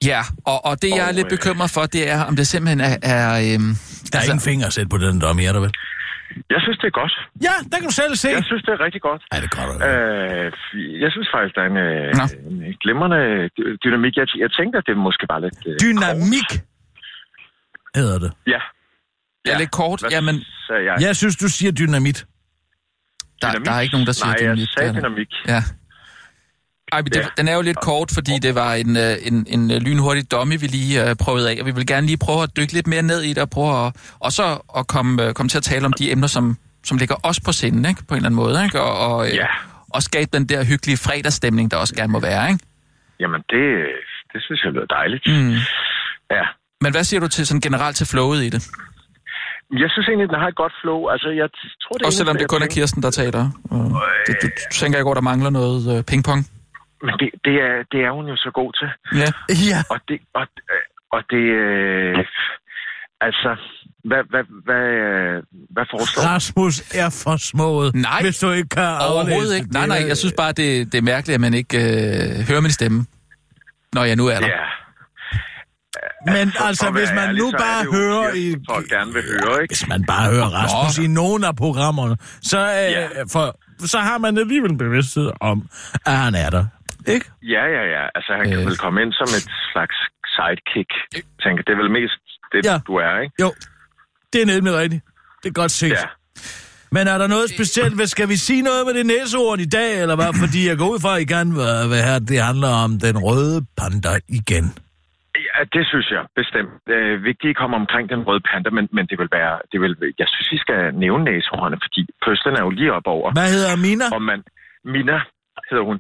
Speaker 2: ja og, og det, jeg er
Speaker 7: Og,
Speaker 2: lidt
Speaker 7: øh,
Speaker 2: bekymret for, det er, om det simpelthen er... er øh,
Speaker 4: Der
Speaker 7: Altså-
Speaker 4: er ingen finger at sætte på den dommer, er der vel?
Speaker 7: Jeg synes, det er godt.
Speaker 4: Ja, der kan du selv se.
Speaker 7: Jeg synes, det er rigtig godt.
Speaker 4: Ej, det er godt. at høre.
Speaker 7: Øh, jeg synes faktisk, der er en, øh,
Speaker 2: Nå.
Speaker 7: en glimrende dy- dynamik. Jeg, jeg tænkte, at det måske var lidt... Øh,
Speaker 4: Dynamik hedder det.
Speaker 7: kort. Ja.
Speaker 2: det er lidt kort.
Speaker 7: Hvad
Speaker 2: Jamen,
Speaker 7: sagde jeg?
Speaker 4: Jeg synes, du siger dynamit.
Speaker 2: der,
Speaker 7: Dynamik?
Speaker 2: der er ikke nogen, der siger
Speaker 7: Nej,
Speaker 2: dynamik.
Speaker 7: jeg sagde
Speaker 2: der er der.
Speaker 7: dynamik.
Speaker 2: Ja. Ej, men det,
Speaker 7: Ja.
Speaker 2: den er jo lidt kort, fordi det var en, øh, en, en øh, lynhurtig dummy, vi lige øh, prøvede af, og vi vil gerne lige prøve at dykke lidt mere ned i det, og prøve at, og så at komme, øh, komme til at tale om de emner, som, som ligger os på sinden, ikke? på en eller anden måde, ikke? Og, og, øh,
Speaker 7: Ja.
Speaker 2: og skabe den der hyggelige fredagsstemning, der også gerne må være. Ikke?
Speaker 7: Jamen, det, øh, det synes jeg lyder dejligt.
Speaker 2: Mm.
Speaker 7: Ja.
Speaker 2: Men hvad siger du til sådan generelt til flowet i det?
Speaker 7: Jeg synes egentlig, den har et godt flow. Altså, jeg t- tror, det
Speaker 2: Også selvom
Speaker 7: eneste,
Speaker 2: det kun er
Speaker 7: jeg tænker-
Speaker 2: Kirsten, der taler. Øh, det, du, du tænker ikke over, der mangler noget øh, pingpong?
Speaker 7: Men det, det, er, det er hun jo så god til.
Speaker 2: Ja.
Speaker 4: Ja.
Speaker 7: Og det... Og, øh, og det øh, altså, hvad, hvad, hvad, øh, hvad foreslår du?
Speaker 4: Rasmus er for smået,
Speaker 2: Nej.
Speaker 4: hvis du ikke kan
Speaker 2: Overhovedet
Speaker 4: aflæse
Speaker 2: ikke.
Speaker 4: det.
Speaker 2: Nej, nej, jeg synes bare, det, det er mærkeligt, at man ikke øh, hører min stemme, når jeg nu er der.
Speaker 7: Ja.
Speaker 4: Men
Speaker 7: For- for
Speaker 4: altså,
Speaker 7: at
Speaker 4: hvis
Speaker 7: være
Speaker 4: man
Speaker 7: ærlig,
Speaker 4: nu
Speaker 7: så er
Speaker 4: bare
Speaker 7: det jo
Speaker 4: hører i...
Speaker 7: Kirsten, Folk gerne vil høre, ikke?
Speaker 4: Hvis man bare hører Rasmus i nogen af programmerne, så, øh,
Speaker 7: Ja.
Speaker 4: for, så har man alligevel en bevidsthed om, at han er der. Ikke?
Speaker 7: Ja, ja, ja. Altså, han kan
Speaker 2: Øh.
Speaker 7: vel komme ind som et slags sidekick. Tænker, det er vel mest det,
Speaker 4: Ja.
Speaker 7: ja. du er, ikke?
Speaker 4: Jo, det er nemlig rigtigt. Det er godt set.
Speaker 7: Ja.
Speaker 4: Men er der noget specielt? Hvad skal vi sige noget med det næseord i dag, eller hvad? Fordi jeg går ud fra, at I gerne vil, vil have, at det handler om den røde panda igen.
Speaker 7: ja, det synes jeg bestemt. Øh, vigtigt at komme omkring den røde panda, men, men det vil være... Det vil, jeg synes, vi skal nævne næsehornene, fordi pøsten er jo lige op over.
Speaker 4: Hvad hedder Mina?
Speaker 7: Og man... Mina hedder hun.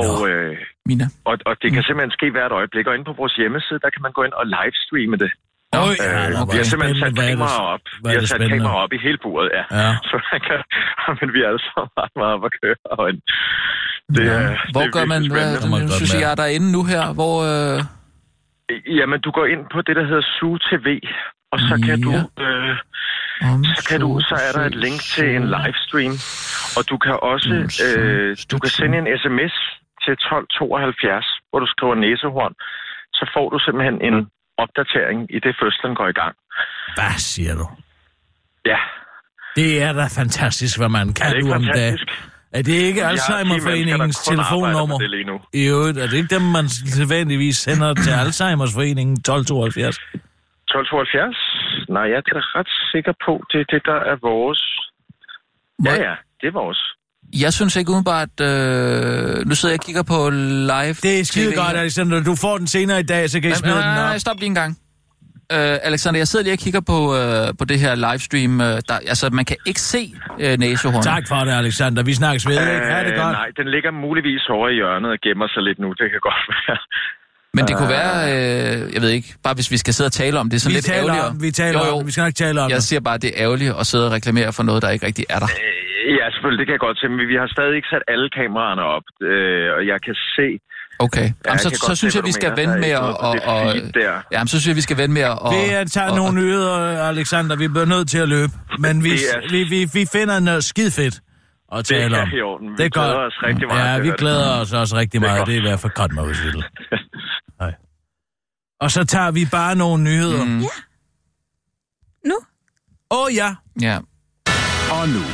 Speaker 7: Og, øh,
Speaker 2: Mina.
Speaker 4: Mm.
Speaker 7: og, og det kan simpelthen ske hvert øjeblik. Og inde på vores hjemmeside, der kan man gå ind og livestreame det.
Speaker 4: Nå, ja,
Speaker 7: Øh,
Speaker 4: nå,
Speaker 7: vi har
Speaker 4: hvor
Speaker 7: simpelthen
Speaker 4: spændende. Hvor er
Speaker 7: sat
Speaker 4: det-
Speaker 7: kameraer op.
Speaker 4: hvor er
Speaker 7: Vi har
Speaker 4: det
Speaker 7: sat
Speaker 4: spændende.
Speaker 7: kameraer op i hele buret, ja.
Speaker 4: Ja.
Speaker 7: Så man kan, men vi er alle sammen meget, meget op at køre. Og en, det,
Speaker 2: Ja.
Speaker 7: er- det
Speaker 2: Hvor
Speaker 7: er
Speaker 2: gør man,
Speaker 7: virkelig
Speaker 2: hvad,
Speaker 7: spændende.
Speaker 4: Må jeg
Speaker 2: nu
Speaker 4: godt
Speaker 2: synes jeg,
Speaker 4: mærke.
Speaker 2: jeg er derinde nu her, hvor... Øh,
Speaker 7: Jamen, du går ind på det, der hedder Zoo TV, og så kan
Speaker 2: Ja.
Speaker 7: du... Øh,
Speaker 2: om
Speaker 7: så, kan du, så er der et link til en livestream, og du kan også øh, du kan sende en sms til 1272, hvor du skriver næsehorn. Så får du simpelthen en opdatering i det, fødslen går i gang.
Speaker 4: Hvad siger du?
Speaker 7: Ja,
Speaker 4: Det er da fantastisk, hvad man
Speaker 7: er
Speaker 4: kan
Speaker 7: det
Speaker 4: nu
Speaker 7: ikke
Speaker 4: om dagen.
Speaker 7: fantastisk?
Speaker 4: Er det ikke
Speaker 7: Jeg har 10
Speaker 4: Alzheimerforeningens
Speaker 7: mennesker, der kun arbejder
Speaker 4: telefonnummer?
Speaker 7: med det lige
Speaker 4: I
Speaker 7: nu.
Speaker 4: øvrigt, er det ikke dem, man sædvanligvis sender til Alzheimerforeningen 1272?
Speaker 7: 1272? Nej, jeg er da ret sikker på, det er det, der er vores. Ja, ja, det er vores.
Speaker 2: Jeg synes ikke udenbart... Øh, nu sidder jeg og kigger på live...
Speaker 4: Det er skide
Speaker 2: TV.
Speaker 4: godt, Alexander. Du får den senere i dag, så kan I
Speaker 2: Nej,
Speaker 4: smide
Speaker 2: nej,
Speaker 4: den
Speaker 2: nej,
Speaker 4: op.
Speaker 2: nej, stop lige en gang. Øh, Alexander, jeg sidder lige og kigger på, øh, på det her livestream. Øh, der, altså, man kan ikke se øh, næsehornet.
Speaker 4: Tak for det, Alexander. Vi snakkes ved, ikke? Ha' det
Speaker 7: Øh,
Speaker 4: godt.
Speaker 7: nej, den ligger muligvis over i hjørnet og gemmer sig lidt nu. Det kan godt være.
Speaker 2: Men det kunne være, øh, jeg ved ikke, bare hvis vi skal sidde og tale om det, så
Speaker 4: Vi
Speaker 2: lidt
Speaker 4: taler
Speaker 2: ærgerligere.
Speaker 4: om, vi taler
Speaker 2: jo, jo.
Speaker 4: om, det. vi skal nok tale om
Speaker 2: Jeg
Speaker 4: det.
Speaker 2: siger bare, at det er ærgerligt at sidde og reklamere for noget, der ikke rigtig er der.
Speaker 7: Øh, Ja, selvfølgelig, det kan jeg godt se, men vi har stadig ikke sat alle kameraerne op, øh, og jeg kan se...
Speaker 2: Okay.
Speaker 7: Ja,
Speaker 2: Jamen,
Speaker 7: jeg
Speaker 2: så,
Speaker 7: kan
Speaker 2: så
Speaker 7: godt
Speaker 2: synes
Speaker 7: se,
Speaker 2: jeg,
Speaker 7: hvad
Speaker 2: vi
Speaker 7: du
Speaker 2: skal
Speaker 7: mener.
Speaker 2: vende
Speaker 7: Der er
Speaker 2: med
Speaker 7: ikke
Speaker 2: at...
Speaker 7: noget på
Speaker 2: Og,
Speaker 7: det
Speaker 2: og,
Speaker 7: feed der.
Speaker 2: jamen, så synes jeg, vi skal vende med at... og-
Speaker 4: Det er at tage
Speaker 2: og-
Speaker 4: nogle nyheder, Alexander. Vi bliver nødt til at løbe. Men vi,
Speaker 7: Det er-
Speaker 4: vi, vi, vi finder noget skide fedt at
Speaker 7: Det
Speaker 4: tale
Speaker 7: er
Speaker 4: om.
Speaker 7: i orden. Vi
Speaker 4: Det er
Speaker 7: glæder
Speaker 4: godt.
Speaker 7: os rigtig meget til
Speaker 4: Ja,
Speaker 7: at
Speaker 4: vi
Speaker 7: høre det.
Speaker 4: glæder os også rigtig
Speaker 7: er
Speaker 4: meget.
Speaker 7: godt.
Speaker 4: Det er i hvert fald godt, Magnus Hittel. Nej. Og så tager vi bare nogle nyheder. Åh
Speaker 2: Mm,
Speaker 6: Nu?
Speaker 4: oh, ja,
Speaker 2: ja.
Speaker 5: Og nu,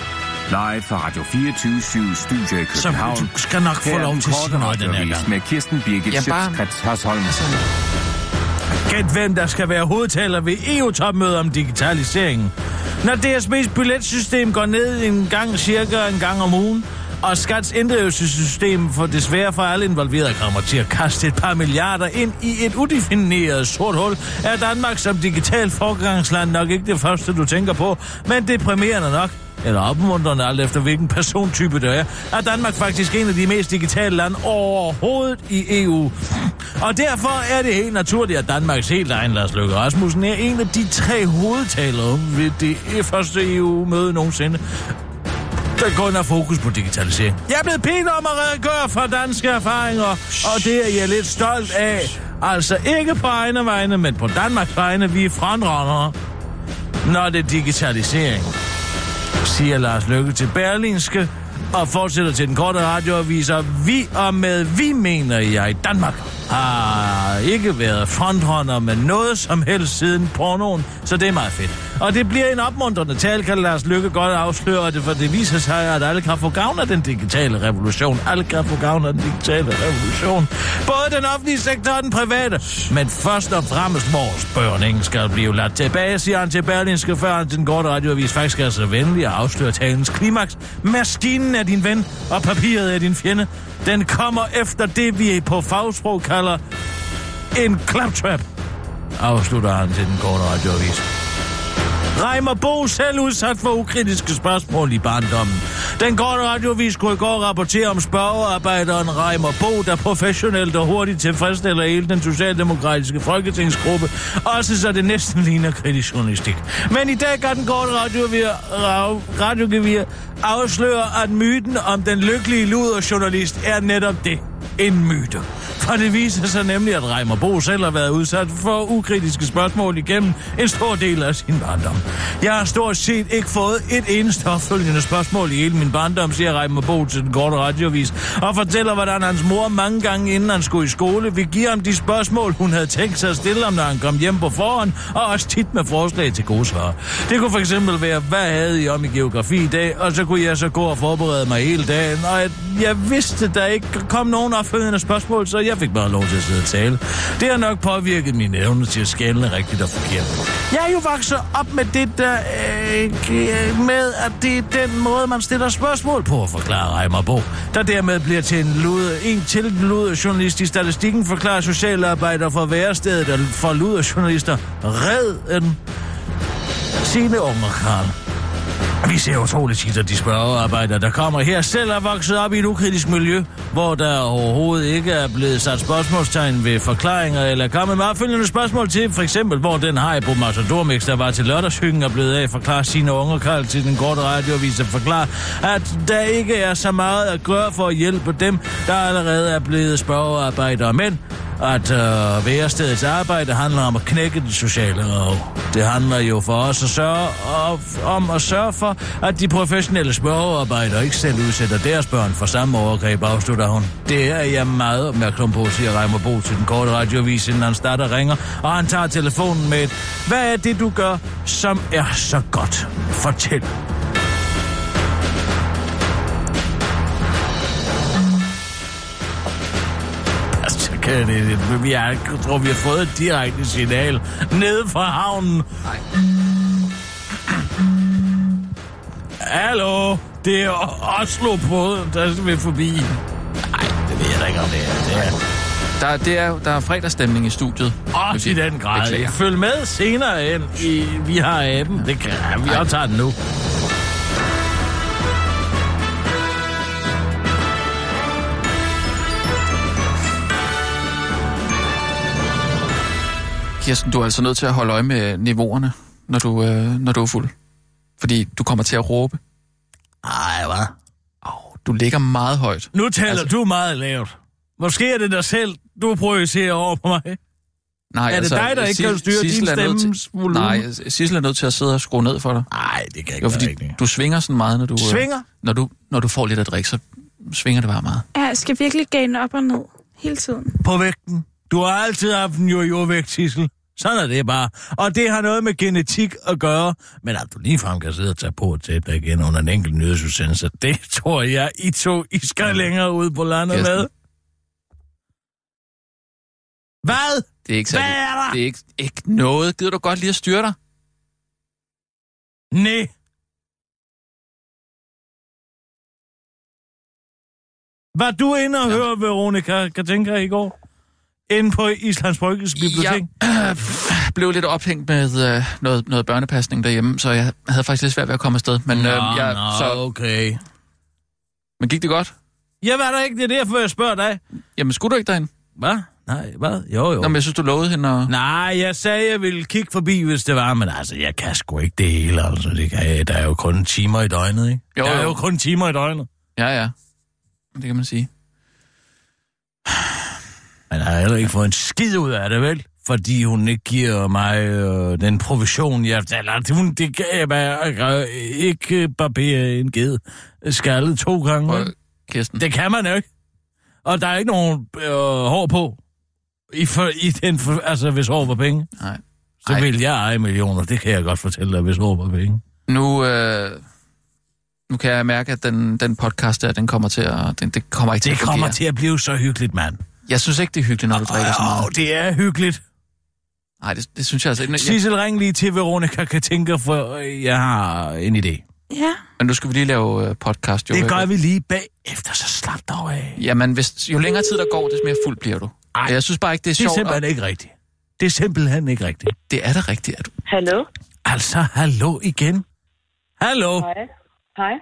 Speaker 5: live fra Radio 24 Studio i
Speaker 4: så
Speaker 5: København.
Speaker 4: du skal nok få
Speaker 5: Her er
Speaker 4: lov
Speaker 5: den
Speaker 4: til at
Speaker 5: korte
Speaker 4: sige noget den her
Speaker 5: radioavis
Speaker 4: gang.
Speaker 5: med Kirsten Birgit
Speaker 2: Ja, bare-
Speaker 5: Schøtzgrads Hasholm.
Speaker 4: Gæt hvem der skal være hovedtaler ved EU-topmødet om digitaliseringen. Når DSB's billetsystem går ned en gang cirka en gang om ugen, og Skats inddrivelsessystem for desværre for alle involverede kommer til at kaste et par milliarder ind i et udefineret sort hul, er Danmark som digital forgangsland nok ikke det første, du tænker på, men deprimerende nok eller opmuntrende, alt efter hvilken persontype det er, er Danmark faktisk en af de mest digitale lande overhovedet i EU. Og derfor er det helt naturligt, at Danmarks helt egen Lars Løkke Rasmussen er en af de tre hovedtalere ved det første EU-møde nogensinde. Der kun er fokus på digitalisering. Jeg er blevet pæn om at redegøre for danske erfaringer, og det er jeg lidt stolt af. Altså ikke på egne vegne, men på Danmarks vegne. Vi er frontrunner, når det er digitalisering siger Lars Løkke til Berlinske, og fortsætter til den korte radioavis, og vi og med vi mener jeg Danmark har ikke været frontrunner med noget som helst siden pornoen, så det er meget fedt. Og det bliver en opmuntrende tale, kan Lars Lykke godt afsløre det, for det viser sig, at alle kan få gavn af den digitale revolution. Alle kan få gavn af den digitale revolution. Både den offentlige sektor og den private. Men først og fremmest vores børn ingen skal blive ladt tilbage, siger han til Berlinske, før han til den korte radioavis faktisk er så venlig at afsløre talens klimaks. Maskinen er din ven, og papiret er din fjende. Den kommer efter det, vi på fagsprog kalder en claptrap, afslutter han til den korte radioavis. Reimer Bo selv udsat for ukritiske spørgsmål i barndommen. Den korte radiovis kunne i går rapportere om spørgearbejderen Reimer Bo, der professionelt og hurtigt tilfredsstiller hele den socialdemokratiske folketingsgruppe, også så det næsten ligner kritisk journalistik. Men i dag kan den korte radiovir, rav- radiogevir afsløre, at myten om den lykkelige luderjournalist er netop det en myte. For det viser sig nemlig, at Reimer Bo selv har været udsat for ukritiske spørgsmål igennem en stor del af sin barndom. Jeg har stort set ikke fået et eneste opfølgende spørgsmål i hele min barndom, siger Reimer Bo til den korte radiovis, og fortæller, hvordan hans mor mange gange inden han skulle i skole, ville give ham de spørgsmål, hun havde tænkt sig at stille ham, når han kom hjem på forhånd, og også tit med forslag til gode svar. Det kunne for eksempel være, hvad havde I om i geografi i dag, og så kunne jeg så gå og forberede mig hele dagen, og jeg, jeg vidste, der ikke kom nogen opfølgende spørgsmål, så jeg fik bare lov til at sidde og tale. Det har nok påvirket mine evne til at skælne rigtigt og forkert. Jeg er jo vokset op med det der, øh, øh, med at det er den måde, man stiller spørgsmål på, forklarer Reimer Bo, der dermed bliver til en, lude, en til lude journalist i statistikken, forklarer socialarbejder fra værestedet og for lude journalister. Red en sine unger, Karl. Vi ser utroligt tit, at de spørgearbejdere, der kommer her, selv er vokset op i et ukritisk miljø, hvor der overhovedet ikke er blevet sat spørgsmålstegn ved forklaringer eller kommet med opfølgende spørgsmål til, for eksempel, hvor den Haribo Matadormix, der var til lørdagshyggen, er blevet af, forklarer sine unger Karl til den korte radioavis og forklarer, at der ikke er så meget at gøre for at hjælpe dem, der allerede er blevet spørgearbejdere, men at øh, værestedets arbejde handler om at knække det sociale rov. Det handler jo for os at sørge, og, om at sørge for, at de professionelle spørgearbejdere ikke selv udsætter deres børn for samme overgreb, afslutter hun. Det er jeg meget opmærksom på, siger Reimer Bo til den korte radiovis, inden han starter og ringer, og han tager telefonen med et, hvad er det, du gør, som er så godt? Fortæl. Altså, kan det, det, vi er, jeg tror, vi har fået et direkte signal nede fra havnen. Nej. Hallo, det er Oslo på, der skal vi forbi. Nej, det ved jeg da ikke, om det er. Det er
Speaker 2: Der, det er, jo- der er fredagsstemning i studiet.
Speaker 4: også i den grad.
Speaker 2: Beklager.
Speaker 4: Følg med senere hen i Vi har aben. Det kan vi
Speaker 2: Ej.
Speaker 4: også tager den nu.
Speaker 2: Kirsten, du er altså nødt til at holde øje med niveauerne, når du, øh, når du er fuld. Fordi du kommer til at råbe.
Speaker 4: Ej, hvad?
Speaker 2: Oh, du ligger meget højt.
Speaker 4: Nu taler
Speaker 2: Altså-
Speaker 4: altså... du meget lavt. Måske er det dig selv, du projicerer over på mig.
Speaker 2: Nej, altså,
Speaker 4: Er det dig, der ikke kan styre din
Speaker 2: er nødt
Speaker 4: stemmes
Speaker 2: til,
Speaker 4: volumen?
Speaker 2: Nej, Sissel er nødt til at sidde og skrue ned for dig.
Speaker 4: Nej, det kan ikke
Speaker 2: Jo, fordi du svinger sådan meget, når du... øh,
Speaker 4: Svinger?
Speaker 2: Når du, når du får lidt at drikke, så svinger det bare meget.
Speaker 6: Ja, jeg skal virkelig gane op og ned hele tiden.
Speaker 4: på vægten. Du har altid haft en jojo-vægt, Sissel. Sådan er det bare. Og det har noget med genetik at gøre. Men at du ligefrem kan sidde og tage på og tæppe dig igen under en enkelt nyhedsudsendelse, det tror jeg, I to, I skal længere ud på landet
Speaker 2: Kirsten.
Speaker 4: med. Hvad?
Speaker 2: Det er ikke
Speaker 4: Hvad
Speaker 2: særlig,
Speaker 4: er der?
Speaker 2: Det er ikke, ikke noget. Gider du godt lige at styre dig?
Speaker 4: Nej. Var du inde og høre Veronica Katinka i går? Inde på Islands Brygges bibliotek?
Speaker 2: Jeg øh, blev lidt ophængt med øh, noget, noget børnepasning derhjemme, så jeg havde faktisk lidt svært ved at komme afsted. Men, øh, jeg, så,
Speaker 4: okay.
Speaker 2: men gik det godt?
Speaker 4: Jeg var der ikke, det er derfor, jeg spørger dig.
Speaker 2: Jamen, skulle du ikke derhen?
Speaker 4: Hvad? Nej, hvad? Jo, jo.
Speaker 2: Nå, men jeg synes, du lovede hende at...
Speaker 4: Nej, jeg sagde, jeg ville kigge forbi, hvis det var, men altså, jeg kan sgu ikke det hele, altså. Det kan jeg. Der er jo kun timer i døgnet, ikke?
Speaker 2: Jo,
Speaker 4: der er
Speaker 2: jo.
Speaker 4: jo kun timer i døgnet.
Speaker 2: Ja, ja. Det kan man sige.
Speaker 4: Men har heller ikke fået en skid ud af det, vel? Fordi hun ikke giver mig øh, den provision, jeg... Eller, hun, det kan jeg bare øh, ikke barbere en ged skaldet to gange.
Speaker 2: Prøv,
Speaker 4: vel?
Speaker 2: Kirsten.
Speaker 4: Det kan man jo ikke. Og der er ikke nogen øh, hår på. I for, i den for, altså, hvis hår var penge.
Speaker 2: Nej.
Speaker 4: Så
Speaker 2: Ej.
Speaker 4: Ej. vil jeg eje millioner, det kan jeg godt fortælle dig, hvis hår var penge.
Speaker 2: Nu, øh, nu kan jeg mærke, at den, den podcast der, den kommer til at... Den, det kommer ikke til
Speaker 4: Det
Speaker 2: at
Speaker 4: kommer
Speaker 2: fungere.
Speaker 4: til at blive så hyggeligt, mand.
Speaker 2: Jeg synes ikke, det er hyggeligt, når du drikker så
Speaker 4: Åh,
Speaker 2: meget.
Speaker 4: oh, det er hyggeligt.
Speaker 2: Nej, det, det synes jeg altså ikke. Jeg,
Speaker 4: Sissel, ring lige til Veronica Katinka, for øh, jeg har en idé.
Speaker 6: Ja,
Speaker 2: men nu skal vi lige lave øh, podcast, jo.
Speaker 4: det gør vi lige bagefter, så slap dig af.
Speaker 2: Jamen, hvis, jo længere tid der går, des mere fuld bliver du. Ej, jeg synes bare ikke, det er
Speaker 4: Det er
Speaker 2: sjovt.
Speaker 4: simpelthen
Speaker 2: Det,
Speaker 4: ikke rigtigt. Det er simpelthen ikke rigtigt.
Speaker 2: det er da rigtigt. At,
Speaker 8: Hallo?
Speaker 4: Altså, hallo igen. Hallo.
Speaker 8: Hej. Hej.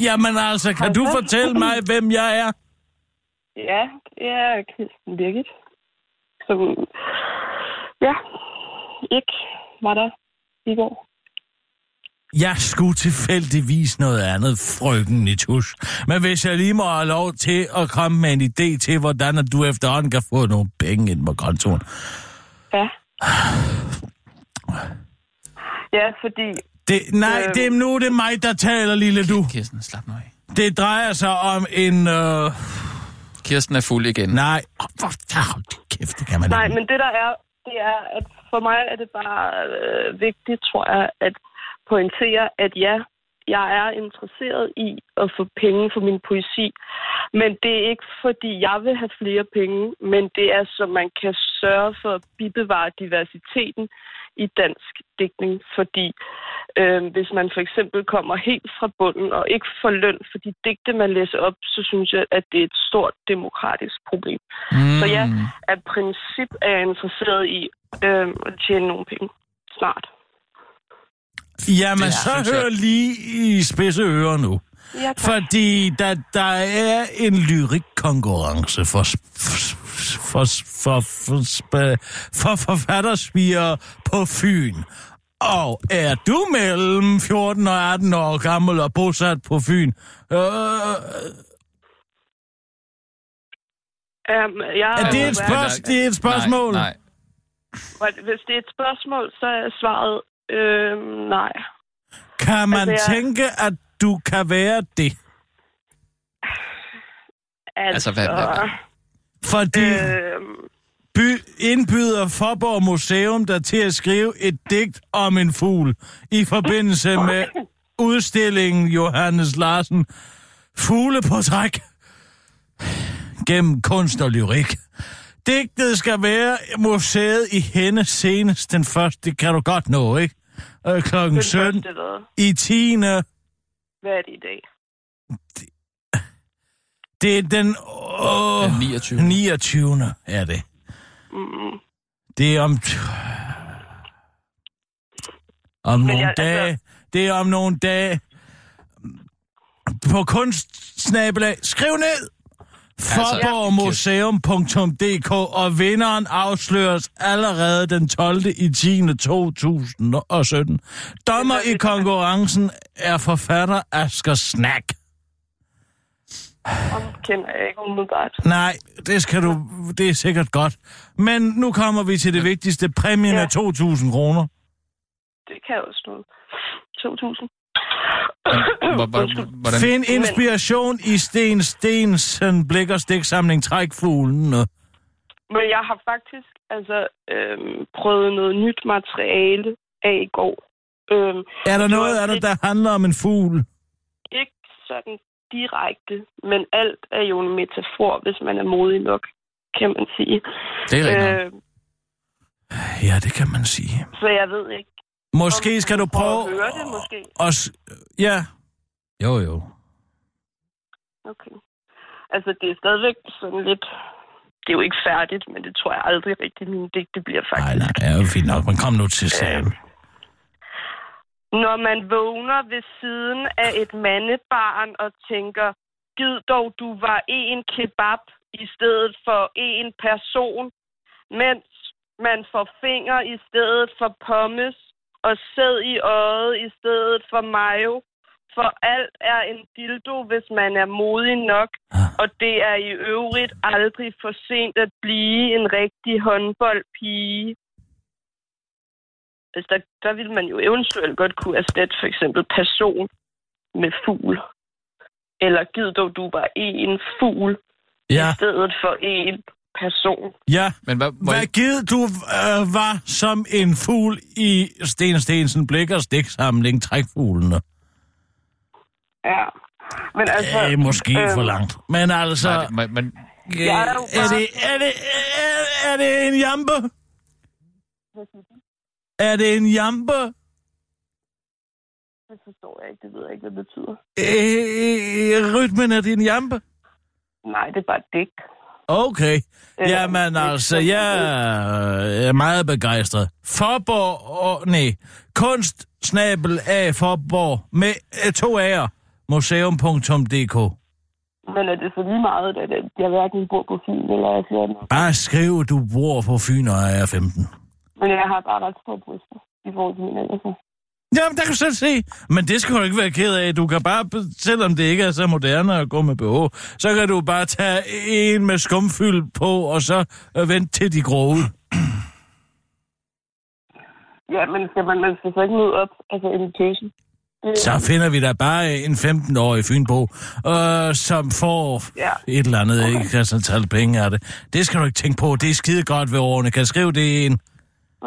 Speaker 4: Jamen altså, kan du fortælle mig, hvem jeg er?
Speaker 8: Ja, det er Kirsten Birgit, som ja, ikke var der i går.
Speaker 4: Jeg skulle tilfældigvis noget andet, frøken Nitus. Men hvis jeg lige må have lov til at komme med en idé til, hvordan at du efterhånden kan få nogle penge ind på kontoen.
Speaker 8: Ja. Ja, fordi...
Speaker 4: Det, nej,
Speaker 8: Øhm.
Speaker 4: det er nu er det mig, der taler, lille du.
Speaker 2: Kirsten, slap nu af.
Speaker 4: Det drejer sig om en... Øh,
Speaker 2: Kirsten er fuld igen.
Speaker 4: nej, oh, hvor, hold da kæft, det kan man
Speaker 8: Nej,
Speaker 4: ikke.
Speaker 8: men det der er, det er, at for mig er det bare øh, vigtigt, tror jeg, at pointere, at ja, jeg er interesseret i at få penge for min poesi, men det er ikke, fordi jeg vil have flere penge, men det er, så man kan sørge for at bibevare diversiteten i dansk digtning, fordi øh, hvis man for eksempel kommer helt fra bunden og ikke får løn for de digte, man læser op, så synes jeg, at det er et stort demokratisk problem.
Speaker 2: Mm.
Speaker 8: Så ja, af princip er jeg interesseret i øh, at tjene nogle penge snart.
Speaker 4: Jamen,
Speaker 2: Det
Speaker 4: så
Speaker 2: synes jeg-
Speaker 4: hør lige i spidse ører nu.
Speaker 8: Ja, tak.
Speaker 4: Fordi der, der er en lyrikkonkurrence for, sp- f- f- for, for, for, sp- for forfattersviger på Fyn. Og er du mellem 14 og 18 år gammel og bosat på Fyn? Øh,
Speaker 8: Um, jeg,
Speaker 4: er det et,
Speaker 2: nej,
Speaker 4: spørg-
Speaker 2: nej.
Speaker 4: det er et spørgsmål?
Speaker 2: Nej, nej.
Speaker 8: Hvis det er et spørgsmål, så er svaret øh, nej.
Speaker 4: Kan man
Speaker 8: Altså, jeg-
Speaker 4: tænke, at du kan være det?
Speaker 2: Altså, hvad- hvad-
Speaker 4: Fordi...
Speaker 8: Øh,
Speaker 4: by, indbyder Forborg Museum der til at skrive et digt om en fugl i forbindelse med udstillingen Johannes Larsen Fugleportræk gennem kunst og lyrik. Digtet skal være i museet i hende senest den første. Det kan du godt nå, ikke? Øh, klokken 17
Speaker 8: første hvad?
Speaker 4: i 10.
Speaker 8: Hvad er det i dag?
Speaker 4: Det er den,
Speaker 2: Den
Speaker 4: åh,
Speaker 2: 29.
Speaker 4: 29. er det.
Speaker 8: Mm,
Speaker 4: Det er om... Om
Speaker 8: Men
Speaker 4: nogle
Speaker 8: jeg- altså-
Speaker 4: dage. Det er om nogle dage. På kunstsnabelag. Skriv ned! Forborgmuseum.dk og vinderen afsløres allerede den 12. i 10. 2017. Dommer i konkurrencen er forfatter Asger Snack.
Speaker 8: om kender jeg ikke umiddelbart.
Speaker 4: Nej, det skal du... Det er sikkert godt. Men nu kommer vi til det vigtigste. Præmien
Speaker 8: Ja.
Speaker 4: er 2.000 kroner.
Speaker 8: Det kan også noget. 2000.
Speaker 2: Hvor- hvor- Hvordan?
Speaker 4: Find inspiration i Sten Stensen blik- og stiksamling Trækfuglen.
Speaker 8: Men jeg har faktisk altså øhm, prøvet noget nyt materiale af i går. Øhm,
Speaker 4: Er der noget af det, der handler om en fugl?
Speaker 8: ikke sådan direkte, men alt er jo en metafor, hvis man er modig nok, kan man sige.
Speaker 2: Det er rigtigt.
Speaker 8: Øhm,
Speaker 4: Øh, Ja, det kan man sige.
Speaker 8: så jeg ved ikke.
Speaker 4: Måske
Speaker 8: om
Speaker 4: skal du prøve...
Speaker 8: at høre det, måske.
Speaker 4: Og, ja. Jo, jo.
Speaker 8: Okay. Altså, det er stadigvæk sådan lidt... Det er jo ikke færdigt, men det tror jeg aldrig rigtigt, mine digte bliver faktisk.
Speaker 4: Nej, nej, ja, fint nok. Men kom nu til sagen.
Speaker 8: Når man vågner ved siden af et mandebarn og tænker, gid dog du var en kebab i stedet for en person, mens man får finger i stedet for pommes og sæd i øjet i stedet for mayo. For alt er en dildo, hvis man er modig nok, og det er i øvrigt aldrig for sent at blive en rigtig håndboldpige. Altså, der, der ville man jo eventuelt godt kunne erstatte for eksempel person med fugl. Eller giv dog du bare en fugl ja. i
Speaker 4: Ja,
Speaker 8: stedet for en person.
Speaker 4: ja.
Speaker 2: Men hvad, må
Speaker 4: Hvad
Speaker 2: jeg,
Speaker 4: gider du øh, var som en fugl i Sten Stensen blik- og stiksamling Trækfuglen?
Speaker 8: Ja. Men altså...
Speaker 4: Det er Øh, måske for
Speaker 8: øhm,
Speaker 4: langt. Men altså...
Speaker 2: nej, det, men, men,
Speaker 4: Øh,
Speaker 8: Jeg er
Speaker 4: er,
Speaker 8: jo
Speaker 4: er,
Speaker 8: bare-
Speaker 4: det, er, det, er, er det en jampe? Er det en jampe?
Speaker 8: Det forstår jeg ikke. Det ved jeg ikke, hvad det betyder.
Speaker 4: Øh, rytmen er din jampe?
Speaker 8: Nej, det er bare et digt.
Speaker 4: Okay.
Speaker 8: Øh,
Speaker 4: Jamen
Speaker 8: det er
Speaker 4: altså,
Speaker 8: sådan,
Speaker 4: jeg øh, er meget begejstret. Forborg, og, nej, kunst, snabel af Forborg, med øh, to A'er, museum.dk.
Speaker 8: Men er det så lige meget, at at jeg hverken bor på Fyn eller er 14?
Speaker 4: Bare skriv, du bor på Fyn og er 15.
Speaker 8: Men jeg har bare ret store bryster i forhold til mine ellers.
Speaker 4: Jamen, der kan du selv se. Men det skal du ikke være ked af. Du kan bare, selvom det ikke er så moderne at gå med BH, så kan du bare tage en med skumfyld på, og så øh, vente til de grove.
Speaker 8: Ja, men skal man, man skal så ikke møde op, altså en person. Øh,
Speaker 4: Så finder vi da bare en 15-årig Fynbo, øh, som får
Speaker 8: Ja.
Speaker 4: et eller andet, ikke kan sådan tale penge af det. Det skal du ikke tænke på. Det er skide godt ved årene. Kan jeg skrive det ind?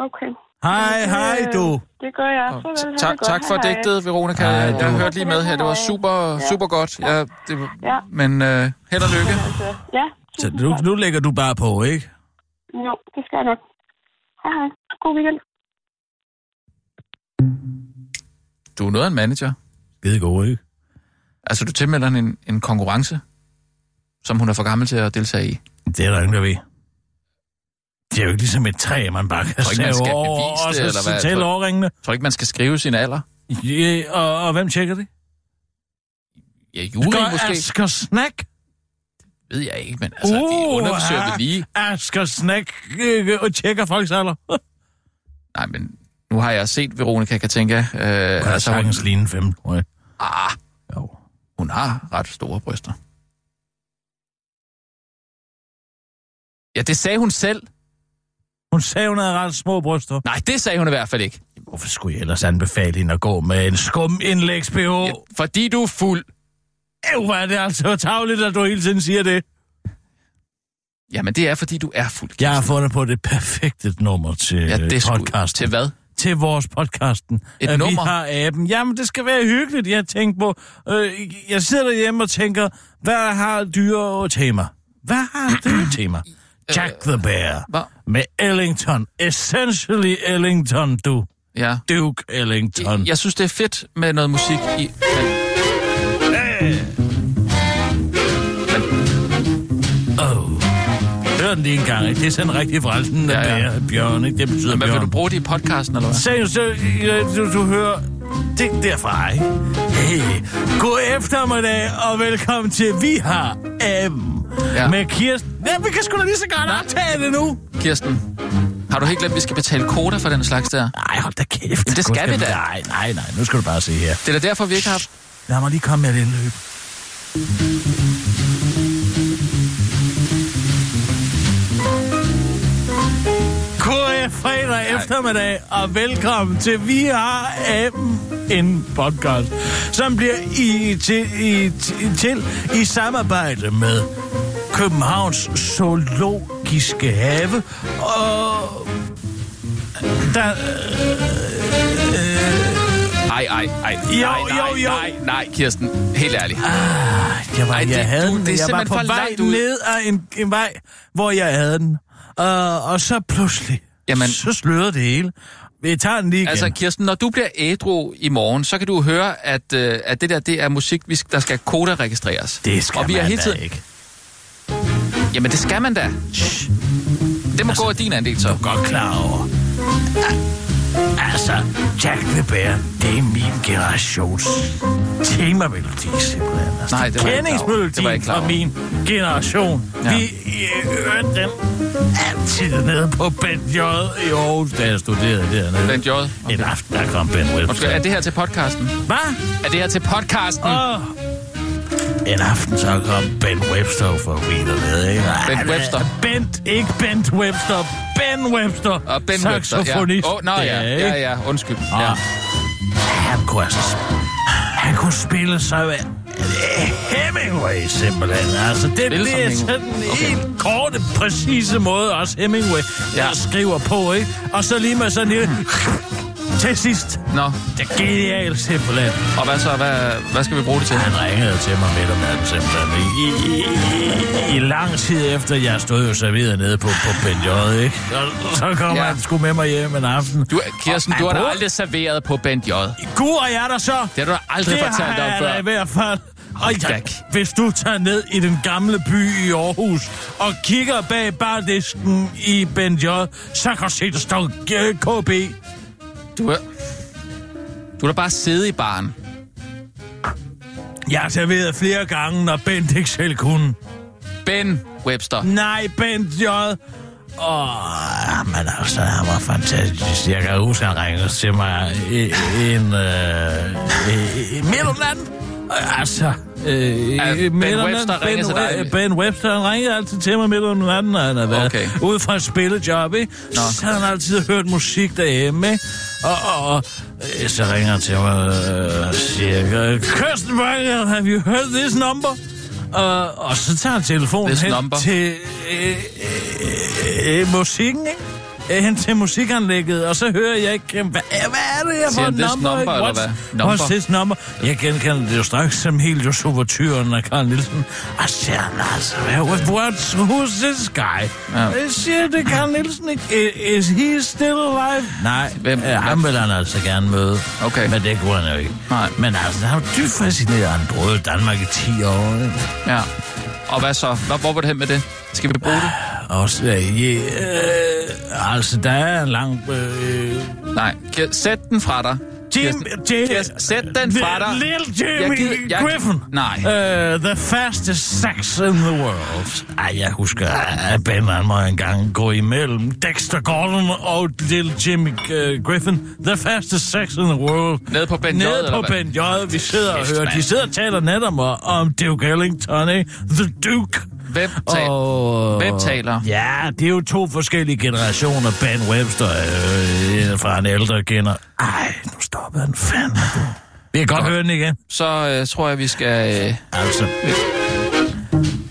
Speaker 8: Okay.
Speaker 4: Hej, hej du.
Speaker 8: øh, Det gør jeg. Farvel, ha' det
Speaker 2: tak,
Speaker 8: godt.
Speaker 2: tak for
Speaker 8: Hej, hej.
Speaker 2: digtet, Veronica.
Speaker 4: Hej,
Speaker 2: Jeg, jeg
Speaker 4: du.
Speaker 2: hørte lige med her. Det var super, super godt. Ja, det, var-
Speaker 8: Ja.
Speaker 2: Men øh, held og lykke.
Speaker 8: Altså, ja,
Speaker 4: Så nu, nu lægger du bare på, ikke?
Speaker 8: jo, det skal jeg nok. Hej, hej. God weekend.
Speaker 2: Du er noget af en manager.
Speaker 4: Skide god, ikke?
Speaker 2: Altså, du tilmelder hende en, en konkurrence, som hun er for gammel til at deltage i. Jeg
Speaker 4: Det er der ingen, der ved. Det er jo ikke ligesom et træ, man bare kan
Speaker 2: Tror ikke, man
Speaker 4: sæve
Speaker 2: skal
Speaker 4: over,
Speaker 2: bevise
Speaker 4: og
Speaker 2: det,
Speaker 4: så
Speaker 2: eller hvad? Jeg
Speaker 4: tælle
Speaker 2: tror-
Speaker 4: overringene.
Speaker 2: tror ikke, man skal skrive sin alder.
Speaker 4: Ja, og, og hvem tjekker det?
Speaker 2: Ja, juri
Speaker 4: Gør altså,
Speaker 2: måske.
Speaker 4: Asger Snack?
Speaker 2: Det ved jeg ikke, men altså, uh, de undersøger det lige.
Speaker 4: Asger Snack øh, og tjekker folks alder.
Speaker 2: Nej, men nu har jeg set Veronica Katinka. Øh, altså, hun,
Speaker 4: sagtens ligne 15 år.
Speaker 2: ah, jo, hun har ret store bryster. Ja, det sagde hun selv.
Speaker 4: Hun sagde, hun havde ret små bryster.
Speaker 2: Nej, det sagde hun i hvert fald ikke.
Speaker 4: Hvorfor skulle jeg ellers anbefale hende at gå med en skum indlægs BH?
Speaker 2: Ja, fordi du er fuld.
Speaker 4: Øv, hvor er det altså tavligt, at du hele tiden siger det.
Speaker 2: Jamen, det er, fordi du er øh, fuld.
Speaker 4: Jeg har fundet på det perfekte nummer til
Speaker 2: Ja, det er sgu-
Speaker 4: podcasten.
Speaker 2: Til hvad?
Speaker 4: til vores podcasten.
Speaker 2: Et
Speaker 4: at
Speaker 2: nummer?
Speaker 4: Vi har aben. Jamen, det skal være hyggeligt, jeg tænker på. Øh, jeg sidder derhjemme og tænker, hvad har dyre og tema? Hvad har dyre tema? Jack the Bear.
Speaker 2: Øh, Hvad?
Speaker 4: Med Ellington. Essentially Ellington, du.
Speaker 2: Ja.
Speaker 4: Duke Ellington.
Speaker 2: Jeg synes, det er fedt med noget musik i... Men,
Speaker 4: Hør den lige en gang, ikke? Det er sådan rigtig frelsen,
Speaker 2: Ja,
Speaker 4: ja,
Speaker 2: ja.
Speaker 4: ja. bjørn, ikke? Det betyder
Speaker 2: men vil
Speaker 4: bjørn.
Speaker 2: du bruge det i podcasten, eller hvad?
Speaker 4: Seriøst, så, øh, du, du hører det derfra, ikke? Hey, god eftermiddag, og velkommen til Vi har M.
Speaker 2: Ja.
Speaker 4: Ja. Med Kirsten... Ja, vi kan sgu da lige så godt optage det nu.
Speaker 2: Kirsten, har du helt glemt, at vi skal betale kvoter for den slags der?
Speaker 4: Nej, hold da kæft.
Speaker 2: Jamen, det
Speaker 4: Gud,
Speaker 2: skal vi da.
Speaker 4: Nej, nej, nej. Nu skal du bare se her.
Speaker 2: Det er da derfor, vi ikke har...
Speaker 4: Lad mig lige komme med et indløb. KF fredag eftermiddag, og velkommen til Vi har Aben en podcast, som bliver i, til, i, til, til i samarbejde med Københavns Zoologiske Have og der,
Speaker 2: Ej, ej, ej.
Speaker 4: Jo,
Speaker 2: nej, nej,
Speaker 4: jo, jo. Ah,
Speaker 2: Nej, nej, Kirsten. Helt ærligt.
Speaker 4: Jeg var,
Speaker 2: Ej,
Speaker 4: Ej,
Speaker 2: det-
Speaker 4: jeg havde
Speaker 2: du-
Speaker 4: den.
Speaker 2: det er
Speaker 4: jeg var
Speaker 2: simpelthen
Speaker 4: på
Speaker 2: for
Speaker 4: vej
Speaker 2: langt ud.
Speaker 4: ned ad en, en vej, hvor jeg havde den. Og, og så pludselig,
Speaker 2: Jamen.
Speaker 4: Jamen. så slørede det hele. Vi tager den lige igen.
Speaker 2: Altså,
Speaker 4: Altså,
Speaker 2: Kirsten, når du bliver ædru i morgen, så kan du høre, at, øh, at det der, det er musik, vi sk- der skal koda-registreres.
Speaker 4: det skal
Speaker 2: og vi
Speaker 4: man
Speaker 2: har
Speaker 4: da
Speaker 2: hele tiden...
Speaker 4: ikke.
Speaker 2: Jamen, det skal man da. Det må altså, gå af din andel, så.
Speaker 4: Godt klar over. Ah, Altså, Jack the Bear, det er min generations temamelodi, simpelthen. Altså,
Speaker 2: Nej, det var jeg ikke klar over. Det var
Speaker 4: kendingsmelodien
Speaker 2: jeg ikke klar
Speaker 4: fra
Speaker 2: over.
Speaker 4: min generation.
Speaker 2: Ja.
Speaker 4: Ja. Vi øh, hørte den altid nede på Ben J. i Aarhus, da jeg studerede dernede.
Speaker 2: Ben J.
Speaker 4: Okay. En aften, der kom Ben
Speaker 2: Undskyld,
Speaker 4: Webster.
Speaker 2: er det her til podcasten?
Speaker 4: Hvad?
Speaker 2: Er det her til podcasten?
Speaker 4: Åh. En aften, så kom Ben Webster for at vide det, ikke? Ej,
Speaker 2: Ben
Speaker 4: hvad-
Speaker 2: Webster.
Speaker 4: Bent, ikke Bent Webster. Ben Webster.
Speaker 2: Og Ben Webster, ja.
Speaker 4: Saxofonist.
Speaker 2: Åh, oh, nej, ja,
Speaker 4: Det er,
Speaker 2: ja,
Speaker 4: ikke?
Speaker 2: ja, undskyld.
Speaker 4: Og
Speaker 2: Ja.
Speaker 4: Han kunne altså... sp- Han kunne spille så... øh, Hemingway, simpelthen. Altså, det,
Speaker 2: Spille
Speaker 4: det er
Speaker 2: som
Speaker 4: sådan
Speaker 2: Hemingway.
Speaker 4: en
Speaker 2: Okay.
Speaker 4: helt korte, præcise måde, også Hemingway
Speaker 2: Ja.
Speaker 4: ja. der skriver på, ikke? Og så lige med sådan en lille...
Speaker 2: Mm.
Speaker 4: Til sidst.
Speaker 2: Nå,
Speaker 4: Det er genialt, simpelthen.
Speaker 2: og hvad så? Hvad, hvad skal vi bruge det til?
Speaker 4: Han ringede til mig midt om natten simpelthen. I, i, i, I lang tid efter, jeg stod jo serveret nede på, på Ben J, ikke? Og så kom
Speaker 2: Ja.
Speaker 4: ja. han sgu med mig hjem en aften.
Speaker 2: Du, Kirsten,
Speaker 4: Og
Speaker 2: du har da
Speaker 4: han
Speaker 2: aldrig serveret på Bent J. Det
Speaker 4: brugte- Gud, og jeg der så.
Speaker 2: har du da aldrig
Speaker 4: det
Speaker 2: fortalt
Speaker 4: har
Speaker 2: om
Speaker 4: jeg
Speaker 2: før.
Speaker 4: da i hvert fald. Og jeg,
Speaker 2: da-
Speaker 4: hvis du tager ned i den gamle by i Aarhus og kigger bag bardisken i Ben J, så kan du se, der står øh, KB.
Speaker 2: Du er... Du har da bare siddet i baren.
Speaker 4: Jeg har serveret flere gange, når Bent ikke selv kunne.
Speaker 2: Ben Webster.
Speaker 4: Nej, Bent J. Åh, men altså, han var fantastisk. Jeg kan huske, han ringede til mig i, i en... Øh, i, i midt om natten. Øh, Altså, øh, i-
Speaker 2: Ah,
Speaker 4: i
Speaker 2: Ben
Speaker 4: midt om
Speaker 2: Webster
Speaker 4: natten.
Speaker 2: ringede til dig?
Speaker 4: øh, Ben Webster, han ringede altid til mig midt om natten, når han havde været
Speaker 2: Okay.
Speaker 4: ude fra et spillejob, ikke?
Speaker 2: Nå.
Speaker 4: Så havde han altid hørt musik derhjemme, ikke? Og, og, og øh, så ringer han til mig øh, og siger, øh, Kirsten Wagner, have you heard this number? Og, og så tager han telefonen
Speaker 2: This
Speaker 4: hen
Speaker 2: number.
Speaker 4: til øh, øh, øh, musikken, ikke? Øh, hen til musikanlægget, og så hører jeg ikke, øh, hvad, hvad er det her
Speaker 2: Siger
Speaker 4: for
Speaker 2: han
Speaker 4: et
Speaker 2: this
Speaker 4: nummer?
Speaker 2: number,
Speaker 4: ikke?
Speaker 2: eller hvad?
Speaker 4: What's-
Speaker 2: Number.
Speaker 4: What's this number? Jeg genkender det jo straks som helt jo supertyren af Carl Nielsen. Og så siger han altså, what, what's, who's this guy? Ja.
Speaker 2: Ja.
Speaker 4: Jeg siger det Carl Nielsen ikke. I- Is he still alive? Nej,
Speaker 2: Hvem-
Speaker 4: Hvem? Øh, ham vil han altså gerne møde.
Speaker 2: Okay.
Speaker 4: Men det kunne han jo ikke.
Speaker 2: Nej.
Speaker 4: Men altså, han var dybt fascineret. Han brød Danmark i 10 år. Ikke?
Speaker 2: Ja. Og hvad så? Hvor, hvor var det hen med det? Skal vi bruge det?
Speaker 4: Også, øh, ja, øh, altså, der er en lang... Øh,
Speaker 2: Nej. Ki- Sæt den fra dig.
Speaker 4: Jim, Jim,
Speaker 2: Kirsten, sæt den fra dig.
Speaker 4: Little Jimmy
Speaker 2: Jeg gider- jeg-
Speaker 4: Griffin.
Speaker 2: Nej.
Speaker 4: Uh, the fastest sex in the world. Ej, jeg husker, at Ben og mig engang gå imellem Dexter Gordon og Little Jimmy uh, Griffin. The fastest sex in the world.
Speaker 2: Nede på Ben J,
Speaker 4: Nede
Speaker 2: eller
Speaker 4: på
Speaker 2: hvad?
Speaker 4: Ben J. Vi sidder og
Speaker 2: Kæft,
Speaker 4: hører. De
Speaker 2: mand.
Speaker 4: sidder og taler netop om, om Duke Ellington, ikke? The Duke.
Speaker 2: Hvem taler?
Speaker 4: Og-
Speaker 2: Hvem taler?
Speaker 4: Ja, det er jo to forskellige generationer. Ben Webster øh, øh, fra en ældre gener. Ej, nu stopper den fandme. du. Vi kan godt høre den igen.
Speaker 2: Så øh, tror jeg, vi skal... Øh,
Speaker 4: Altså.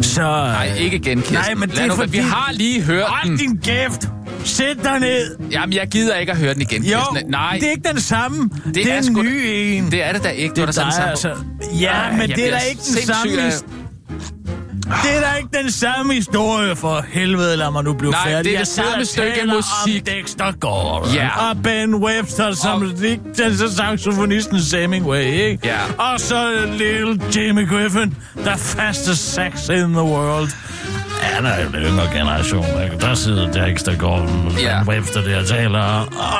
Speaker 4: Så...
Speaker 2: nej, ikke igen, Kirsten.
Speaker 4: Nej, men
Speaker 2: Lad
Speaker 4: det er
Speaker 2: nu,
Speaker 4: fordi...
Speaker 2: Vi har lige hørt
Speaker 4: Hold
Speaker 2: den.
Speaker 4: din kæft! Sæt dig ned!
Speaker 2: Jamen, jeg gider ikke at høre den igen,
Speaker 4: Jo,
Speaker 2: Kirsten. Nej,
Speaker 4: det er ikke den samme. Det, det er
Speaker 2: er
Speaker 4: en
Speaker 2: sgu da-
Speaker 4: ny en.
Speaker 2: det er det da ikke. Det, var
Speaker 4: Det
Speaker 2: der
Speaker 4: er dig,
Speaker 2: sådan
Speaker 4: altså.
Speaker 2: sammen.
Speaker 4: Ja,
Speaker 2: Ej,
Speaker 4: men
Speaker 2: jeg
Speaker 4: det er
Speaker 2: bliver
Speaker 4: da ikke den
Speaker 2: sindssyg
Speaker 4: samme...
Speaker 2: af-
Speaker 4: his-
Speaker 2: Ah.
Speaker 4: Det er da ikke den samme historie, for helvede, lad mig nu blive
Speaker 2: Nej,
Speaker 4: færdig.
Speaker 2: det er
Speaker 4: Jeg
Speaker 2: det samme
Speaker 4: sidder og
Speaker 2: stykke
Speaker 4: taler
Speaker 2: musik.
Speaker 4: om Dexter Gordon.
Speaker 2: Ja.
Speaker 4: Og Ben Webster, som
Speaker 2: Og-
Speaker 4: og... den så saxofonisten Hemingway, ikke?
Speaker 2: Ja.
Speaker 4: Og så Little Jimmy Griffin, the fastest sax in the world. Han er jo den yngre generation, ikke? Der sidder Dexter Gordon og
Speaker 2: Ja.
Speaker 4: Ben Webster der og taler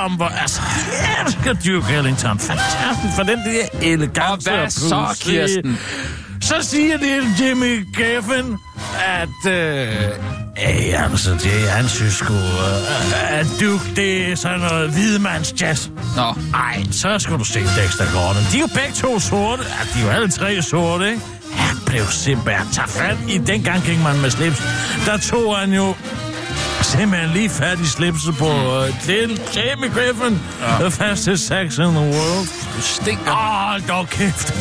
Speaker 4: om, hvor... Altså, jeg elsker Duke Ellington. Fantastisk, for den der elegance
Speaker 2: Og hvad så,
Speaker 4: blues, ikke?
Speaker 2: Kirsten?
Speaker 4: Så siger det Jimmy Gaffin, at... Øh, Ej, altså, det han synes sgu, øh, at Duke, det er sådan noget hvidmands jazz.
Speaker 2: Nå,
Speaker 4: Ej, så skal du se Dexter Gordon. De er jo begge to sorte. Ja, de er jo alle tre sorte, ikke? Han blev simpelthen taget fat i. Dengang gik man med slips. Der tog han jo simpelthen lige fat i slipset på
Speaker 2: Hmm.
Speaker 4: øh, Little Jimmy Griffin. The fastest sax in the world.
Speaker 2: du stinker.
Speaker 4: Åh, hold dog kæft.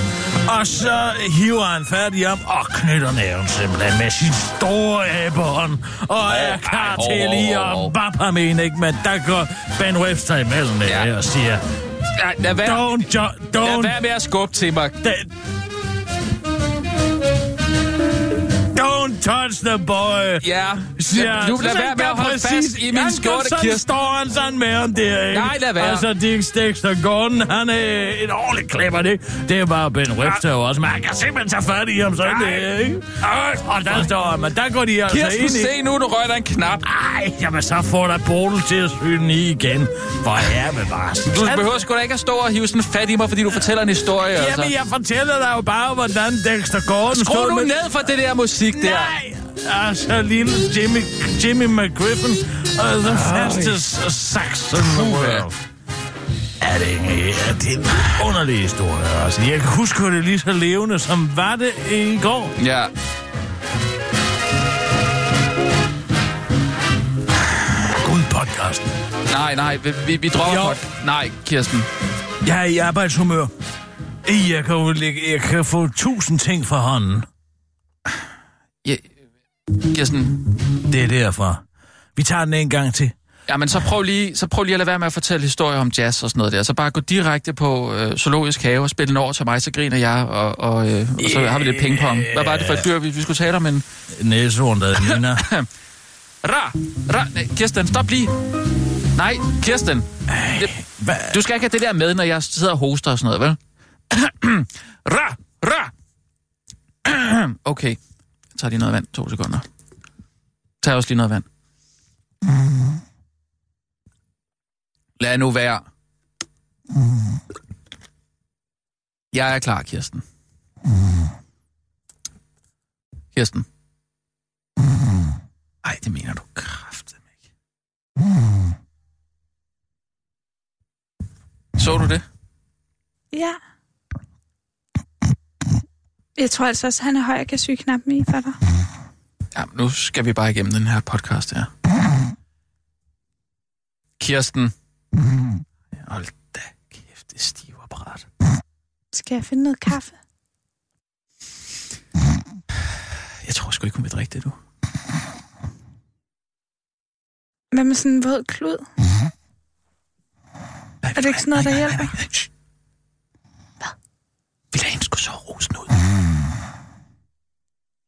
Speaker 4: Og så hiver han fat i ham og knytter næven simpelthen med sin store æbehånd. Og er klar
Speaker 2: ej, hov,
Speaker 4: til
Speaker 2: hov,
Speaker 4: lige
Speaker 2: hov, hov.
Speaker 4: at bappe ham ind, ikke? Men der går Ben Webster imellem det
Speaker 2: Ja.
Speaker 4: her og siger,
Speaker 2: Nej, lad være,
Speaker 4: don't, jo,
Speaker 2: lad
Speaker 4: don't,
Speaker 2: være med at skubbe til mig.
Speaker 4: da- don't touch the boy.
Speaker 2: Ja,
Speaker 4: Siger,
Speaker 2: du lad
Speaker 4: Så
Speaker 2: være med
Speaker 4: der
Speaker 2: at holde
Speaker 4: præcis-
Speaker 2: fast i min
Speaker 4: Han
Speaker 2: skjorte,
Speaker 4: går sådan-
Speaker 2: Kirsten.
Speaker 4: står han sådan med ham der, ikke?
Speaker 2: Nej, lad være.
Speaker 4: Altså, Dick Stexter Gordon, han er en ordentlig klipper, det. Det er bare Ben Webster jo også, men han kan simpelthen tage fat i ham sådan der, ikke? Og der står han, men der går de altså
Speaker 2: Kirsten,
Speaker 4: ind i...
Speaker 2: se nu, du rører dig en knap.
Speaker 4: Ej, jamen så får der Bodil til at syge den i igen. Hvor er med bare...
Speaker 2: Du behøver sgu da ikke at stå og hive sådan fat i mig, fordi du fortæller en historie. altså.
Speaker 4: Jamen, jeg fortæller dig jo bare, hvordan Dexter Gordon
Speaker 2: Skru
Speaker 4: stod
Speaker 2: nu
Speaker 4: med...
Speaker 2: ned for det der musik der.
Speaker 4: Nej! Altså, lille Jimmy, Jimmy McGriffin, uh, the fastest sax in the world. Er det ikke? Ja, det er en underlig historie, altså. Jeg kan huske det lige så levende, som var det i går.
Speaker 2: Ja.
Speaker 4: Gud, podcasten.
Speaker 2: Nej, nej, vi, vi, vi dropper
Speaker 4: Jo.
Speaker 2: godt. Nej, Kirsten.
Speaker 4: Jeg er i arbejdshumør. Jeg kan, jo lægge- jeg kan få tusind ting fra hånden.
Speaker 2: Ja. Kirsten,
Speaker 4: Det er derfra. Vi tager den en gang til.
Speaker 2: jamen så prøv, lige, så prøv lige at lade være med at fortælle historier om jazz og sådan noget der. Så bare gå direkte på øh, Zoologisk Have og spille den over til mig, så griner jeg, og, og, øh, og så har vi lidt pingpong. Hvad var det for et dyr, vi, vi skulle tale om? En
Speaker 4: Næsehorn, der ligner.
Speaker 2: ra, ra. Nej, Kirsten, stop lige. Nej, Kirsten. Det,
Speaker 4: Hvad?
Speaker 2: Du skal ikke have det der med, når jeg sidder og hoster og sådan noget, vel? ra, ra. okay. Jeg tager lige noget vand. To sekunder. Tag også lige noget vand. Lad nu være. Jeg er klar, Kirsten. Kirsten. Ej, det mener du kraftigt ikke. Så du det?
Speaker 6: Ja. Jeg tror altså også, han er høj og kan syge knappen i for dig.
Speaker 2: Ja, nu skal vi bare igennem den her podcast her. Kirsten. Hold da kæft, det stiver apparat.
Speaker 6: Skal jeg finde noget kaffe?
Speaker 2: Jeg tror sgu ikke, hun vil drikke det, du.
Speaker 6: Hvad med sådan en våd klud? Er det ikke sådan noget, der hjælper?
Speaker 2: Shh. Vi lader hende sgu så rosen ud.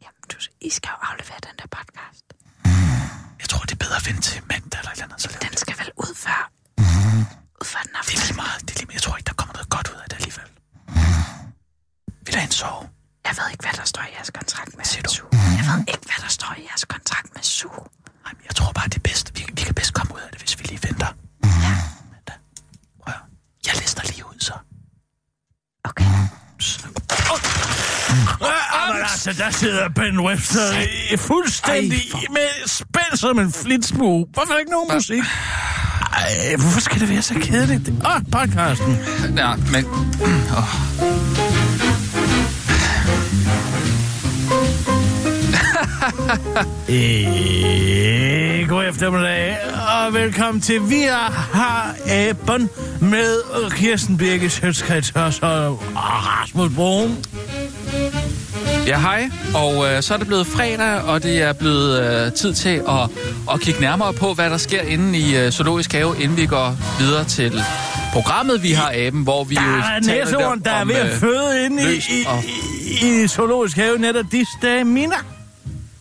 Speaker 6: Jamen, du, I skal jo aflevere den der podcast.
Speaker 2: Jeg tror, det er bedre at vende til mandag eller et eller andet. Så laver
Speaker 6: Den skal vel ud før... Ud før den
Speaker 2: det
Speaker 6: aften.
Speaker 2: er lige meget. Det er lige meget. Jeg tror ikke, der kommer noget godt ud af det alligevel. Vi lader hende sove.
Speaker 6: Jeg ved ikke, hvad der står i jeres kontrakt med Siger Su. Jeg ved ikke, hvad der står i jeres kontrakt med Su.
Speaker 2: Nej, men jeg tror bare, det er bedst. Vi, vi kan bedst komme ud af det, hvis vi lige venter. Mandag. Prøv at høre. Jeg lister lige ud, så.
Speaker 4: Jamen altså, der sidder Ben Webster i- fuldstændig
Speaker 2: Ej, for-
Speaker 4: med spænd som en flitsmue. Hvorfor er der ikke nogen musik? Ej, hvorfor skal det være så kedeligt? Åh, oh, podcasten.
Speaker 2: Ja, men... Åh.
Speaker 4: Øh, god eftermiddag, og velkommen til Vi har Aben med Kirsten Birgit Sjøtskrets og Rasmus Broen.
Speaker 2: Ja, hej. Og øh, så er det blevet fredag, og det er blevet øh, tid til at, at kigge nærmere på, hvad der sker inde i øh, Zoologisk Have, inden vi går videre til programmet, vi har aben, hvor vi
Speaker 4: Der
Speaker 2: jo
Speaker 4: er
Speaker 2: taler lidt
Speaker 4: næsehorn, der er
Speaker 2: om,
Speaker 4: ved at
Speaker 2: øh,
Speaker 4: føde inde i,
Speaker 2: løs
Speaker 4: i,
Speaker 2: og-
Speaker 4: i, i zoologisk have netop disse dage. Mina,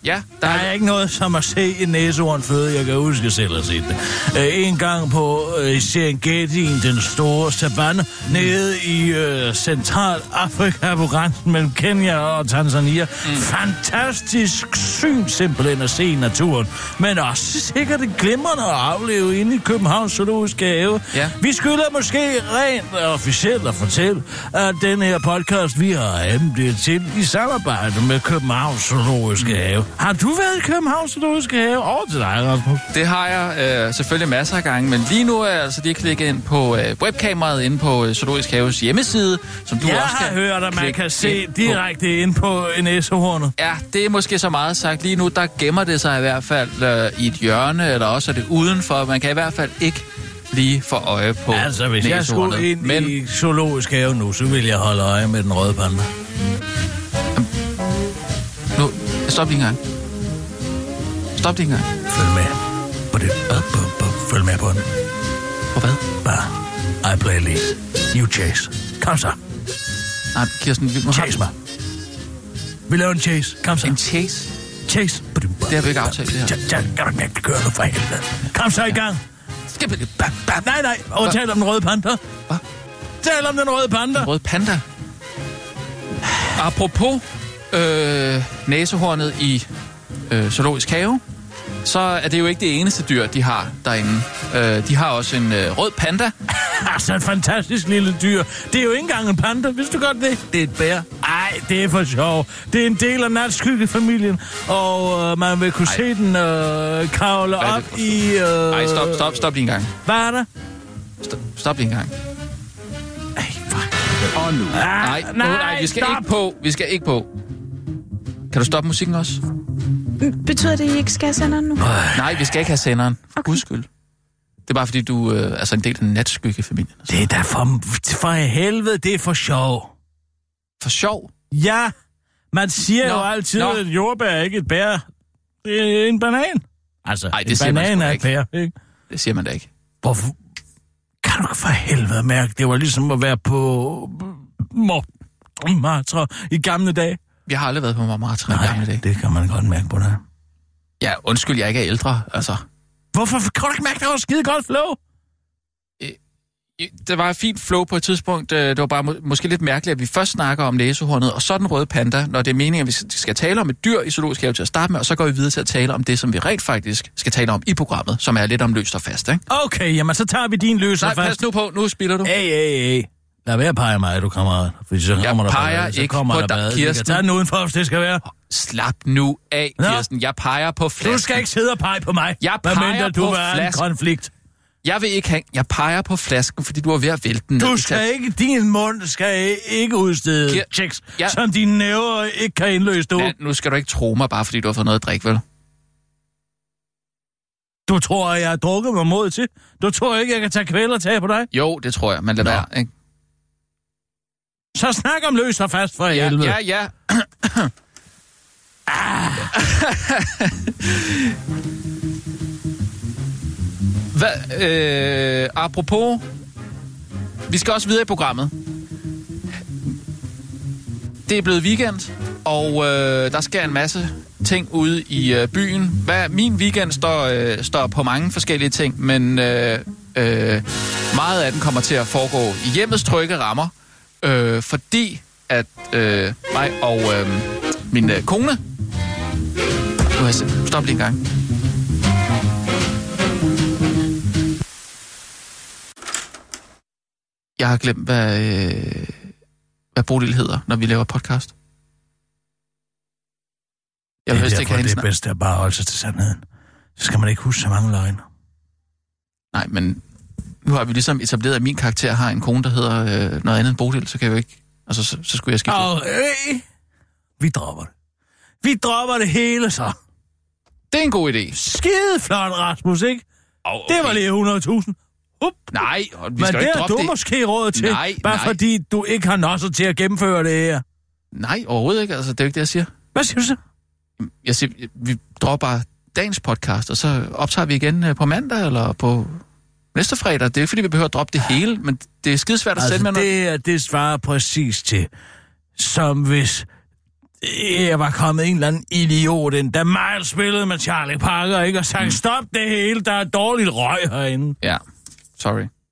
Speaker 2: Ja, der
Speaker 4: der
Speaker 2: er,
Speaker 4: er ikke noget som at se en næsehorn føde. Jeg kan huske selv at se det. Øh, en gang på øh, Serengetien, den store savanne, nede i øh, Centralafrika på grænsen mellem Kenya og Tanzania. Mm. Fantastisk syn simpelthen at se i naturen. Men også sikkert et glimrende at afleve inde i Københavns Zoologiske Have.
Speaker 2: Ja.
Speaker 4: Vi skylder måske rent officielt at fortælle, at den her podcast, vi har af dem, bliver til i samarbejde med Københavns Zoologiske
Speaker 2: Mm.
Speaker 4: Have. Har du været i Københavns Zoologiske Have? Over til dig, Rasmus.
Speaker 2: det har jeg øh, selvfølgelig masser af gange, men lige nu er jeg altså lige klikket ind på øh, webkameraet inde på øh, Zoologisk Haves hjemmeside, som du
Speaker 4: jeg
Speaker 2: også kan
Speaker 4: har hørt, at man
Speaker 2: klikke
Speaker 4: kan se
Speaker 2: ind på.
Speaker 4: direkte ind på næsehornet.
Speaker 2: Ja, det er måske så meget sagt. Lige nu, der gemmer det sig i hvert fald øh, i et hjørne, eller også er det udenfor. Man kan i hvert fald ikke lige få øje på
Speaker 4: Altså, hvis jeg
Speaker 2: næsehornet.
Speaker 4: skulle ind
Speaker 2: Men
Speaker 4: Men... i Zoologisk Have nu, så ville jeg holde øje med den røde panda.
Speaker 2: nu, stop lige en gang. Stop lige en gang.
Speaker 4: Følg med på det. Bop, bop, bop. Følg med på den.
Speaker 2: På hvad?
Speaker 4: Bare. I play lead. You chase. Kom så.
Speaker 2: Nej, Kirsten, vi må
Speaker 4: Chase mig. Vi laver en chase. Kom så.
Speaker 2: En chase?
Speaker 4: Chase. Det
Speaker 2: har vi ikke aftalt, det her.
Speaker 4: Ja, kan du ikke køre nu for helvede. Kom så i gang.
Speaker 2: Skal vi...
Speaker 4: Bam, bam. Nej, nej. Og tal om den røde panda.
Speaker 2: Hvad?
Speaker 4: Tal om den røde panda.
Speaker 2: Rød panda. Apropos øh, næsehornet i øh, zoologisk have, så er det jo ikke det eneste dyr, de har derinde. Øh, de har også en øh, rød panda.
Speaker 4: Altså, et fantastisk lille dyr. Det er jo ikke engang en panda, hvis du godt det. Det er et bær. Ej, det er for sjov. Det er en del af natskyggefamilien, og øh, man vil kunne Ej.
Speaker 2: Ej.
Speaker 4: se den øh, kravle
Speaker 2: Hvad er
Speaker 4: op
Speaker 2: det for
Speaker 4: i... Øh,
Speaker 2: Nej, stop, stop, stop lige en gang.
Speaker 4: Hvad er der?
Speaker 2: Stop, stop lige en gang.
Speaker 5: Og
Speaker 4: Ah,
Speaker 5: nu,
Speaker 2: Ah, Nej, nej, nej, vi skal
Speaker 4: stop.
Speaker 2: ikke på. Vi skal ikke på. Kan du stoppe musikken også?
Speaker 6: Betyder det, at I ikke skal sende den nu?
Speaker 2: Nej, vi skal ikke have senderen. For okay. skyld. Det er bare fordi, du øh, er altså en del af natskyggefamilien.
Speaker 4: Det er da for, for helvede, det er for sjov.
Speaker 2: For sjov.
Speaker 4: Ja, man siger
Speaker 2: Nå,
Speaker 4: jo altid,
Speaker 2: nå.
Speaker 4: at et jordbær er ikke et bær. Det er en banan. Altså,
Speaker 2: Ej, det
Speaker 4: en
Speaker 2: siger man
Speaker 4: banan
Speaker 2: sgu
Speaker 4: er et
Speaker 2: ikke.
Speaker 4: bær, ikke?
Speaker 2: Det siger man da ikke.
Speaker 4: Hvorfor? Kan du for helvede mærke, det var ligesom at være på Mor- Martre i gamle dage.
Speaker 2: Jeg har aldrig været på Marmatra i gamle dage.
Speaker 4: det kan man godt mærke på dig.
Speaker 2: Ja, undskyld, jeg ikke er ældre, altså.
Speaker 4: Hvorfor kan du ikke mærke, der var skide godt flow?
Speaker 2: Der var et fint flow på et tidspunkt. Øh, Det var bare må- måske lidt mærkeligt, at vi først snakker om næsehornet og så den røde panda, når det er meningen, at vi s- skal tale om et dyr i zoologisk have til at starte med, og så går vi videre til at tale om det, som vi rent faktisk skal tale om i programmet, som er lidt om løst og fast, ikke?
Speaker 4: Okay, jamen så tager vi din løser
Speaker 2: Nej,
Speaker 4: først.
Speaker 2: pas nu på. Nu spiller du.
Speaker 4: Hey, hey, hey. Lad være at pege mig, du kammerat. Fordi så kommer der
Speaker 2: peger
Speaker 4: ballade, så
Speaker 2: ikke
Speaker 4: kommer
Speaker 2: på
Speaker 4: der
Speaker 2: dig,
Speaker 4: ballade. Vi kan
Speaker 2: Kirsten.
Speaker 4: Tag den udenfor, hvis det skal være.
Speaker 2: Slap nu af,
Speaker 4: Nå.
Speaker 2: Kirsten. Jeg peger på flasken.
Speaker 4: Du skal ikke sidde og pege på mig.
Speaker 2: Jeg
Speaker 4: Hvad
Speaker 2: peger
Speaker 4: mindre du
Speaker 2: på
Speaker 4: vil have en
Speaker 2: flasken.
Speaker 4: konflikt?
Speaker 2: Jeg vil ikke have... Jeg peger på flasken, fordi du er ved at vælte den. ned
Speaker 4: Du
Speaker 2: i tasken.
Speaker 4: skal ikke, din mund skal ikke udstede
Speaker 2: Kir-
Speaker 4: checks, ja.
Speaker 2: Ja.
Speaker 4: som dine næver ikke kan indløse. Du,
Speaker 2: Ja, nu skal du ikke tro mig, bare fordi du har fået noget at drikke, vel?
Speaker 4: du tror, jeg har drukket mig mod til. Du tror ikke, jeg kan tage kvæl og tage på dig.
Speaker 2: Jo, det tror jeg, men lad
Speaker 4: Nå.
Speaker 2: være, ikke?
Speaker 4: Så snak om løs og fast for
Speaker 2: Ja,
Speaker 4: helvede.
Speaker 2: ja, ja. Hvad, øh, apropos, vi skal også videre i programmet. Det er blevet weekend, og øh, der sker en masse ting ude i øh, byen. Hvad, min weekend står, øh, står på mange forskellige ting, men øh, øh, meget af den kommer til at foregå i hjemmets trygge rammer, øh, fordi at øh, mig og øh, min øh, kone... Nu har jeg se- Stop lige en gang. Jeg har glemt, hvad, øh, hvad Bodil hedder, når vi laver podcast. Jeg vil
Speaker 4: det
Speaker 2: helst
Speaker 4: er
Speaker 2: ikke
Speaker 4: derfor,
Speaker 2: have hendes
Speaker 4: det er
Speaker 2: navn.
Speaker 4: bedst at bare holde sig til sandheden. Så skal man ikke huske så mange løgne.
Speaker 2: Nej, men nu har vi ligesom etableret, at min karakter har en kone, der hedder øh, noget andet end Bodil, så kan jeg jo ikke... Altså, så, så skulle jeg skifte.
Speaker 4: Og øh, vi dropper det. Vi dropper det hele så.
Speaker 2: Det er en god idé.
Speaker 4: Skide flot, Rasmus, ikke?
Speaker 2: Oh,
Speaker 4: Det var lige 100.000. Up.
Speaker 2: Nej, og vi
Speaker 4: Men
Speaker 2: skal jo
Speaker 4: det
Speaker 2: ikke
Speaker 4: er
Speaker 2: droppe
Speaker 4: du
Speaker 2: det.
Speaker 4: måske råd til,
Speaker 2: Nej,
Speaker 4: bare
Speaker 2: nej.
Speaker 4: fordi du ikke har nosset til at gennemføre det her.
Speaker 2: Nej, overhovedet ikke. Altså, det er jo ikke det, jeg siger.
Speaker 4: Hvad siger du så?
Speaker 2: Jeg siger, vi dropper bare dagens podcast, og så optager vi igen øh, på mandag eller på næste fredag. Det er ikke, fordi vi behøver at droppe det hele, men det er skidesvært at altså, sende
Speaker 4: Altså,
Speaker 2: med noget.
Speaker 4: det, er- det svarer præcis til, som hvis jeg var kommet en eller anden idiot ind, da Miles spillede
Speaker 2: Mm.
Speaker 4: med Charlie Parker, ikke? Og sagt, stop det hele, der er dårligt røg herinde.
Speaker 2: Ja, sorry.